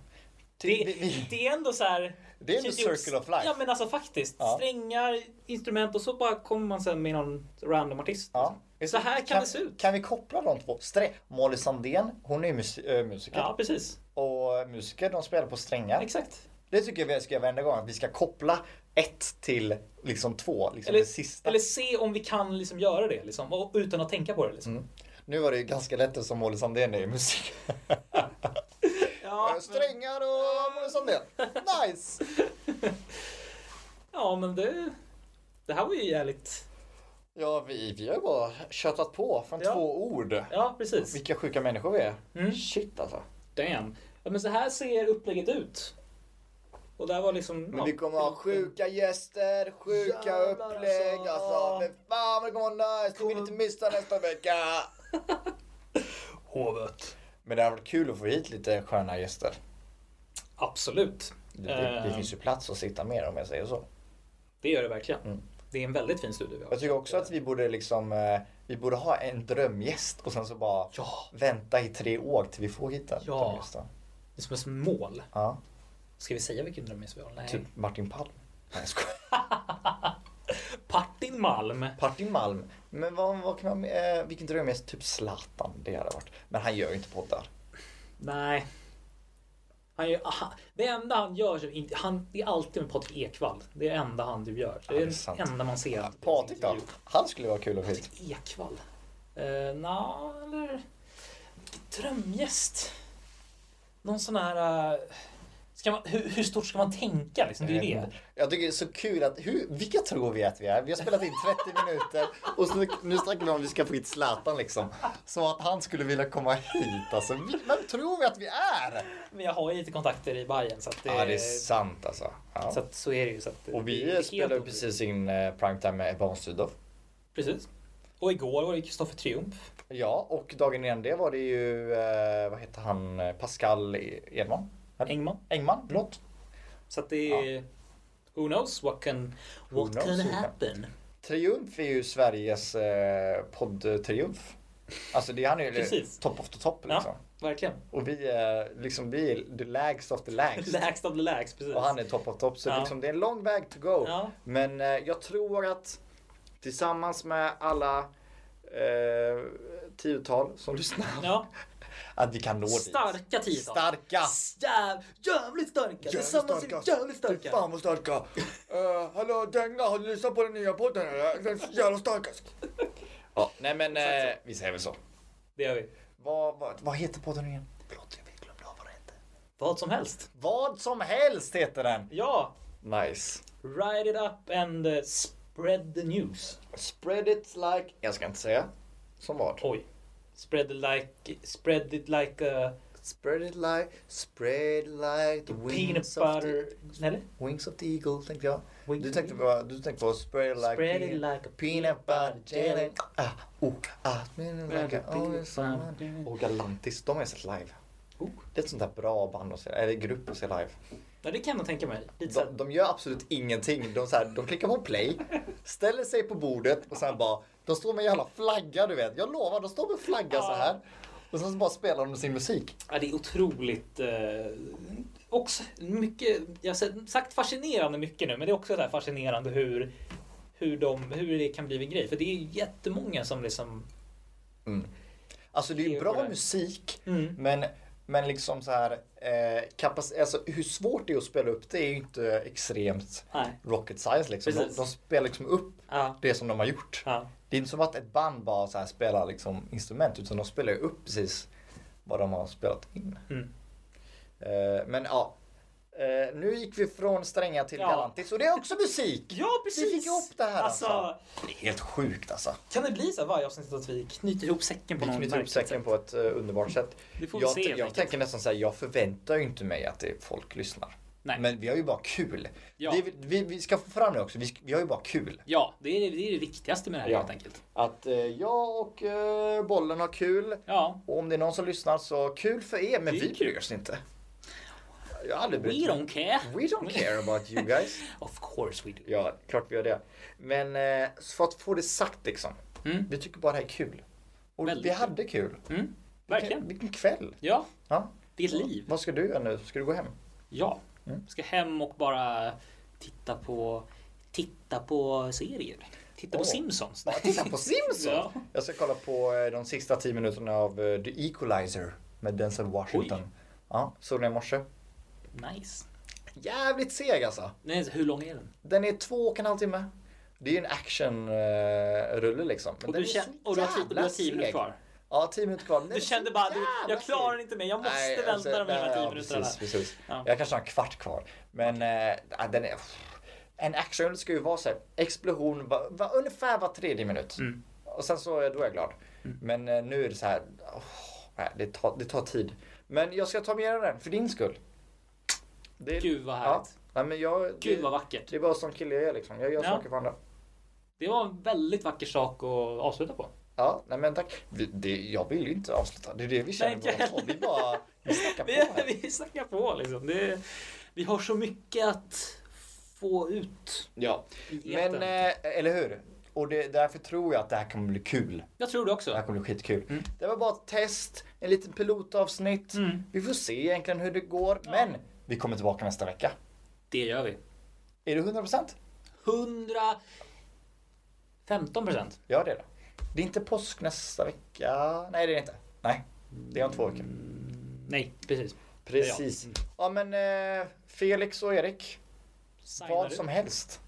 Speaker 1: Det,
Speaker 2: vi- vi-
Speaker 1: det är ändå så här...
Speaker 2: Det är ändå circle of life.
Speaker 1: Ja men alltså faktiskt.
Speaker 2: Ja.
Speaker 1: Strängar, instrument och så bara kommer man sen med någon random artist.
Speaker 2: Ja.
Speaker 1: Så här kan det se ut.
Speaker 2: Kan vi koppla de två? Strä- Molly Sandén, hon är ju mus- eh, musiker.
Speaker 1: Ja precis.
Speaker 2: Och eh, musiker, de spelar på strängar.
Speaker 1: Exakt.
Speaker 2: Det tycker jag vi ska göra varenda gång. Att vi ska koppla ett till liksom två. Liksom
Speaker 1: Eller,
Speaker 2: det sista.
Speaker 1: eller se om vi kan liksom göra det liksom, och, utan att tänka på det. Liksom.
Speaker 2: Nu var det ju ganska lätt eftersom Molly Sandén är ju musik. Mm. Eh,
Speaker 1: Ja, men,
Speaker 2: strängar och Molly Sandén. Nice!
Speaker 1: ja men det, det här var ju jävligt...
Speaker 2: Ja, vi, vi har ju bara köttat på från
Speaker 1: Ja.
Speaker 2: två ord.
Speaker 1: Ja precis.
Speaker 2: Vilka sjuka människor vi är.
Speaker 1: Mm.
Speaker 2: Shit alltså.
Speaker 1: Damn. Ja, men så här ser upplägget ut. Och där var liksom...
Speaker 2: Men
Speaker 1: ja,
Speaker 2: vi kommer ha sjuka gäster, sjuka
Speaker 1: Jävlar,
Speaker 2: upplägg
Speaker 1: alltså.
Speaker 2: alltså. Men fan vad det kommer vara nice, det vill ni inte missa nästa vecka.
Speaker 1: Hovet.
Speaker 2: Men det hade varit kul att få hit lite sköna gäster.
Speaker 1: Absolut.
Speaker 2: Det, det, det
Speaker 1: Eh.
Speaker 2: finns ju plats att sitta mer om jag säger så.
Speaker 1: Det gör det verkligen.
Speaker 2: Mm.
Speaker 1: Det är en väldigt fin studio vi har.
Speaker 2: Jag tycker också att vi borde liksom, eh, vi borde ha en drömgäst och sen så bara
Speaker 1: Ja,
Speaker 2: vänta i tre år till vi får hitta
Speaker 1: Ja.
Speaker 2: drömgästen.
Speaker 1: det är som ett mål.
Speaker 2: Ja,
Speaker 1: Ska vi säga vilken drömmis vi har? Nej.
Speaker 2: typ Martin Palm. Nej, jag skojar.
Speaker 1: Partin Malm.
Speaker 2: Martin Malm. Men vad, vad kan man, eh, vilken drömgäst? Typ Zlatan, det hade varit. Men han gör ju inte poddar.
Speaker 1: Nej. Han gör, aha, det enda han gör, som inte- han, det är alltid med Patrik Ekwall. Det är det enda han du gör. Det
Speaker 2: Ja,
Speaker 1: är
Speaker 2: det är
Speaker 1: det
Speaker 2: sant.
Speaker 1: enda man ser. att-
Speaker 2: Patrik då? Han skulle vara kul att få hit.
Speaker 1: Patrik Ekwall? Uh, Nja, eller... Drömgäst? Någon sån här... eh, Ska man, hur, hur stort ska man tänka liksom? Det är ju
Speaker 2: Jag
Speaker 1: det.
Speaker 2: vet inte. Jag tycker det är så kul att, hur, vilka tror vi att vi är? Vi har spelat in 30 minuter och så, nu snackar vi om att vi ska få hit Zlatan liksom. Så att han skulle vilja komma hit alltså. Vi- Vem tror vi att vi är?
Speaker 1: Men jag har ju lite kontakter i Bayern så att det,
Speaker 2: Ja, det är sant alltså.
Speaker 1: så,
Speaker 2: Ja.
Speaker 1: att, så är det ju. Så att,
Speaker 2: Och
Speaker 1: det är
Speaker 2: vi
Speaker 1: helt
Speaker 2: spelade
Speaker 1: otroligt.
Speaker 2: precis in eh, primetime med Ebba von Sydow.
Speaker 1: Precis. Och igår var det Kristoffer Triumf.
Speaker 2: Ja, och dagen innan det var det ju, eh, vad heter han, eh, Pascal Edman?
Speaker 1: Engman.
Speaker 2: Engman, förlåt.
Speaker 1: Så att det är... Who knows what can, what
Speaker 2: knows
Speaker 1: can
Speaker 2: who can-
Speaker 1: happen?
Speaker 2: Triumf är ju Sveriges eh, podd-triumf. Alltså det, han är ju
Speaker 1: Precis.
Speaker 2: top of the top
Speaker 1: Ja.
Speaker 2: liksom.
Speaker 1: Verkligen.
Speaker 2: Och vi är liksom vi är the lags of the lags.
Speaker 1: Lägst av the lägst, precis.
Speaker 2: Och han är top of top. Så
Speaker 1: Ja.
Speaker 2: liksom det är en lång väg to go.
Speaker 1: Ja.
Speaker 2: Men eh, jag tror att tillsammans med alla eh, tiotal som lyssnar.
Speaker 1: Ja,
Speaker 2: att vi kan nå dit.
Speaker 1: Starka tidtag.
Speaker 2: Starka.
Speaker 1: Jäv, jävligt starka. Tillsammans är vi jävligt starka.
Speaker 2: alltså. Fan vad starka. Uh, hallå Denga, har du lyssnat på den nya podden eller? Den är så jävla starkast. Ja, nej men eh, vi säger väl så.
Speaker 1: Det gör vi.
Speaker 2: Vad, vad, vad heter podden igen? Förlåt, jag glömde av vad den hette.
Speaker 1: Vad som helst.
Speaker 2: Vad som helst heter den.
Speaker 1: Ja.
Speaker 2: Nice.
Speaker 1: Ride it up and eh, spread the news.
Speaker 2: Spread it like... Jag ska inte säga. Som vad?
Speaker 1: Oj. Spread it like... Spread it like a
Speaker 2: Spread it like... Spread like the
Speaker 1: peanut
Speaker 2: wings of the...
Speaker 1: butter... Eller?
Speaker 2: Wings of the eagle tänkte jag.
Speaker 1: Wings
Speaker 2: Du
Speaker 1: of
Speaker 2: tänkte
Speaker 1: the
Speaker 2: på, du tänkte på spread it like,
Speaker 1: Spread it like a peanut butter jelly.
Speaker 2: Ah, oh, ah, peanut like a
Speaker 1: Peanut
Speaker 2: oh,
Speaker 1: butter
Speaker 2: it's-
Speaker 1: jelly.
Speaker 2: oh, Galantis, de har jag sett live.
Speaker 1: Oh.
Speaker 2: Det är ett sånt där bra band att se, eller grupp att se live.
Speaker 1: Ja, det kan jag tänka mig. Lite
Speaker 2: De,
Speaker 1: såhär...
Speaker 2: de gör absolut ingenting. De, så här, de klickar på play, ställer sig på bordet och sen bara... De står med en jävla flagga du vet. Jag lovar, de står med flagga så här. Och sen så bara spelar de sin musik.
Speaker 1: Ja, det är otroligt... Eh, också mycket... Jag har sett- sagt fascinerande mycket nu, men det är också så här fascinerande hur, hur, de, hur det kan bli en grej. För det är ju jättemånga som liksom...
Speaker 2: Alltså det är
Speaker 1: Det
Speaker 2: ju
Speaker 1: är
Speaker 2: bra
Speaker 1: korrekt.
Speaker 2: musik,
Speaker 1: Mm.
Speaker 2: men, men liksom så här... Eh, kapac- alltså, hur svårt det är att spela upp det är ju inte extremt
Speaker 1: Nej.
Speaker 2: rocket science liksom. De,
Speaker 1: Precis.
Speaker 2: de spelar liksom upp
Speaker 1: Ja.
Speaker 2: det som de har gjort.
Speaker 1: ja.
Speaker 2: Det är inte som att ett band bara så här spelar liksom instrument utan de spelar ju upp precis vad de har spelat in.
Speaker 1: Mm.
Speaker 2: Eh, men ja. Eh, nu gick vi från stränga till
Speaker 1: Ja.
Speaker 2: galantis och det är också musik!
Speaker 1: Ja, precis!
Speaker 2: Vi fick ihop det här alltså.
Speaker 1: Alltså,
Speaker 2: Det är helt sjukt alltså.
Speaker 1: kan det bli så här varje avsnitt att vi knyter ihop säcken på
Speaker 2: Vi
Speaker 1: någon
Speaker 2: knyter ihop
Speaker 1: märkligt
Speaker 2: säcken
Speaker 1: sätt?
Speaker 2: på ett eh, underbart sätt.
Speaker 1: Det får vi
Speaker 2: Jag,
Speaker 1: se, helt
Speaker 2: jag
Speaker 1: enkelt.
Speaker 2: tänker nästan så här, jag förväntar ju inte mig att det, folk lyssnar.
Speaker 1: Nej.
Speaker 2: Men vi har ju bara kul.
Speaker 1: Ja.
Speaker 2: Det, vi- vi, vi ska få fram det också, vi, vi har ju bara kul.
Speaker 1: Ja, det är det, är det viktigaste med det här
Speaker 2: Ja.
Speaker 1: helt enkelt.
Speaker 2: Att eh, jag och eh, bollen har kul.
Speaker 1: Ja.
Speaker 2: Och om det är någon som lyssnar så kul för er, men
Speaker 1: Det är
Speaker 2: vi
Speaker 1: kul.
Speaker 2: bryr oss inte. Jag har aldrig
Speaker 1: We
Speaker 2: brytt mig.
Speaker 1: don't care.
Speaker 2: We don't care about you guys.
Speaker 1: Mm. Of course we do.
Speaker 2: Ja, klart vi gör det. Men eh, för att få det sagt liksom.
Speaker 1: Mm.
Speaker 2: Vi tycker bara det här är kul. Och
Speaker 1: Väldigt
Speaker 2: vi
Speaker 1: kul.
Speaker 2: hade kul.
Speaker 1: Mm, verkligen.
Speaker 2: Vilken kväll.
Speaker 1: Ja,
Speaker 2: Ja.
Speaker 1: det är ett liv.
Speaker 2: Vad ska du göra nu? Ska du gå hem?
Speaker 1: Ja.
Speaker 2: Mm.
Speaker 1: Ska hem och bara titta på, titta på serier. Titta på
Speaker 2: Åh.
Speaker 1: Simpsons.
Speaker 2: Ja, titta på Simpsons!
Speaker 1: Ja.
Speaker 2: Jag ska kolla på eh, de sista tio minuterna av eh, The Equalizer med Denzel Washington. Ja, såg den i morse.
Speaker 1: Nice.
Speaker 2: Jävligt seg alltså.
Speaker 1: Nej, hur lång är den?
Speaker 2: Den är två och en halv timme. Det är ju en actionrulle liksom. Men
Speaker 1: Och
Speaker 2: den
Speaker 1: du,
Speaker 2: är
Speaker 1: känner,
Speaker 2: så
Speaker 1: och du har tid- du
Speaker 2: jävla
Speaker 1: har tio minuter
Speaker 2: seg.
Speaker 1: kvar.
Speaker 2: Ja, tio minuter kvar. Den är
Speaker 1: Du
Speaker 2: så
Speaker 1: kände bara, du,
Speaker 2: jävla
Speaker 1: jag klarar
Speaker 2: seg.
Speaker 1: inte mer. Jag måste
Speaker 2: Nej,
Speaker 1: vänta
Speaker 2: alltså,
Speaker 1: de här
Speaker 2: nej,
Speaker 1: tio
Speaker 2: ja,
Speaker 1: minuterna.
Speaker 2: Precis, precis.
Speaker 1: Ja.
Speaker 2: Jag kanske har en kvart kvar. Men eh, den är... En actionrulle ska ju vara så här, explosion va, va, ungefär var tredje minut.
Speaker 1: Mm.
Speaker 2: Och sen så, eh, då är jag glad. Men eh, nu är det så här, åh, nej, det, tar, det tar tid. Men jag ska ta med den för din skull. Det,
Speaker 1: Gud vad
Speaker 2: ja,
Speaker 1: härligt.
Speaker 2: nej, men jag,
Speaker 1: Gud
Speaker 2: det,
Speaker 1: vad vackert.
Speaker 2: det är bara som kille jag är liksom. Jag gör
Speaker 1: Ja.
Speaker 2: saker för andra.
Speaker 1: Det var en väldigt vacker sak att avsluta på.
Speaker 2: Ja, nej men tack. Vi, det, jag vill ju inte avsluta. Det är det vi känner
Speaker 1: Nej, inte
Speaker 2: båda två. Vi bara vi snackar på
Speaker 1: Vi,
Speaker 2: här.
Speaker 1: vi snackar på liksom. Det, vi har så mycket att få ut.
Speaker 2: Ja,
Speaker 1: i
Speaker 2: men
Speaker 1: etern.
Speaker 2: eh, eller hur? Och det, därför tror jag att det här kommer bli kul.
Speaker 1: Jag tror det
Speaker 2: Det här
Speaker 1: också.
Speaker 2: kommer bli skitkul.
Speaker 1: Mm.
Speaker 2: Det var bara ett test, en liten pilotavsnitt.
Speaker 1: Mm.
Speaker 2: Vi får se egentligen hur det går. Men vi kommer tillbaka nästa vecka.
Speaker 1: Det gör vi.
Speaker 2: Är det 100%?
Speaker 1: 115 procent.
Speaker 2: Gör det då. Det är inte påsk nästa vecka. Nej, det är det inte. Nej, det är om två
Speaker 1: Mm.
Speaker 2: veckor.
Speaker 1: Nej, precis.
Speaker 2: Precis.
Speaker 1: Mm.
Speaker 2: Ja, men eh, Felix och Erik.
Speaker 1: Signar
Speaker 2: Vad
Speaker 1: du?
Speaker 2: som helst.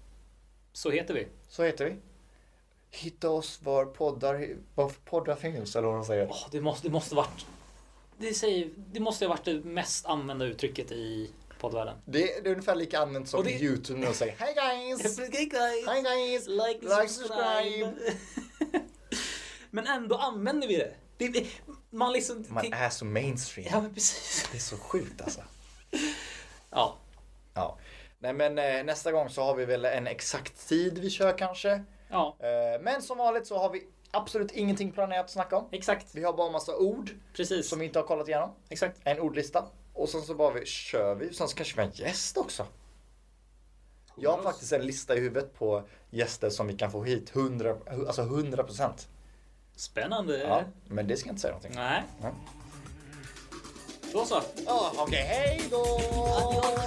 Speaker 1: Så heter vi.
Speaker 2: Så heter vi. Hitta oss var poddar, var poddar finns eller vad de säger.
Speaker 1: Åh, det, måste, det måste varit... Det, säger, det måste ha varit det mest använda uttrycket i poddvärlden.
Speaker 2: Det är det är ungefär lika använt som
Speaker 1: Och det-
Speaker 2: Youtube när de säger Hej guys! Hej guys!
Speaker 1: Like,
Speaker 2: Like, subscribe.
Speaker 1: men ändå använder vi det. det man liksom...
Speaker 2: Man
Speaker 1: tänk-
Speaker 2: är så mainstream.
Speaker 1: Ja, men precis.
Speaker 2: Det är så sjukt alltså.
Speaker 1: Ja,
Speaker 2: Ja. Nej men eh, nästa gång så har vi väl en exakt tid vi kör kanske.
Speaker 1: ja
Speaker 2: Eh, men som vanligt så har vi absolut ingenting planerat att snacka om.
Speaker 1: exakt.
Speaker 2: Vi har bara massa ord
Speaker 1: Precis.
Speaker 2: som vi inte har kollat igenom.
Speaker 1: Exakt.
Speaker 2: En ordlista. Och sen så bara vi, kör vi. Sen så kanske vi har en gäst också. Jag har faktiskt en lista i huvudet på gäster som vi kan få hit. 100, alltså 100 procent.
Speaker 1: Spännande.
Speaker 2: Ja, men det ska jag inte säga någonting.
Speaker 1: Nej.
Speaker 2: Nej.
Speaker 1: Då så.
Speaker 2: Ja, Okej, hej då!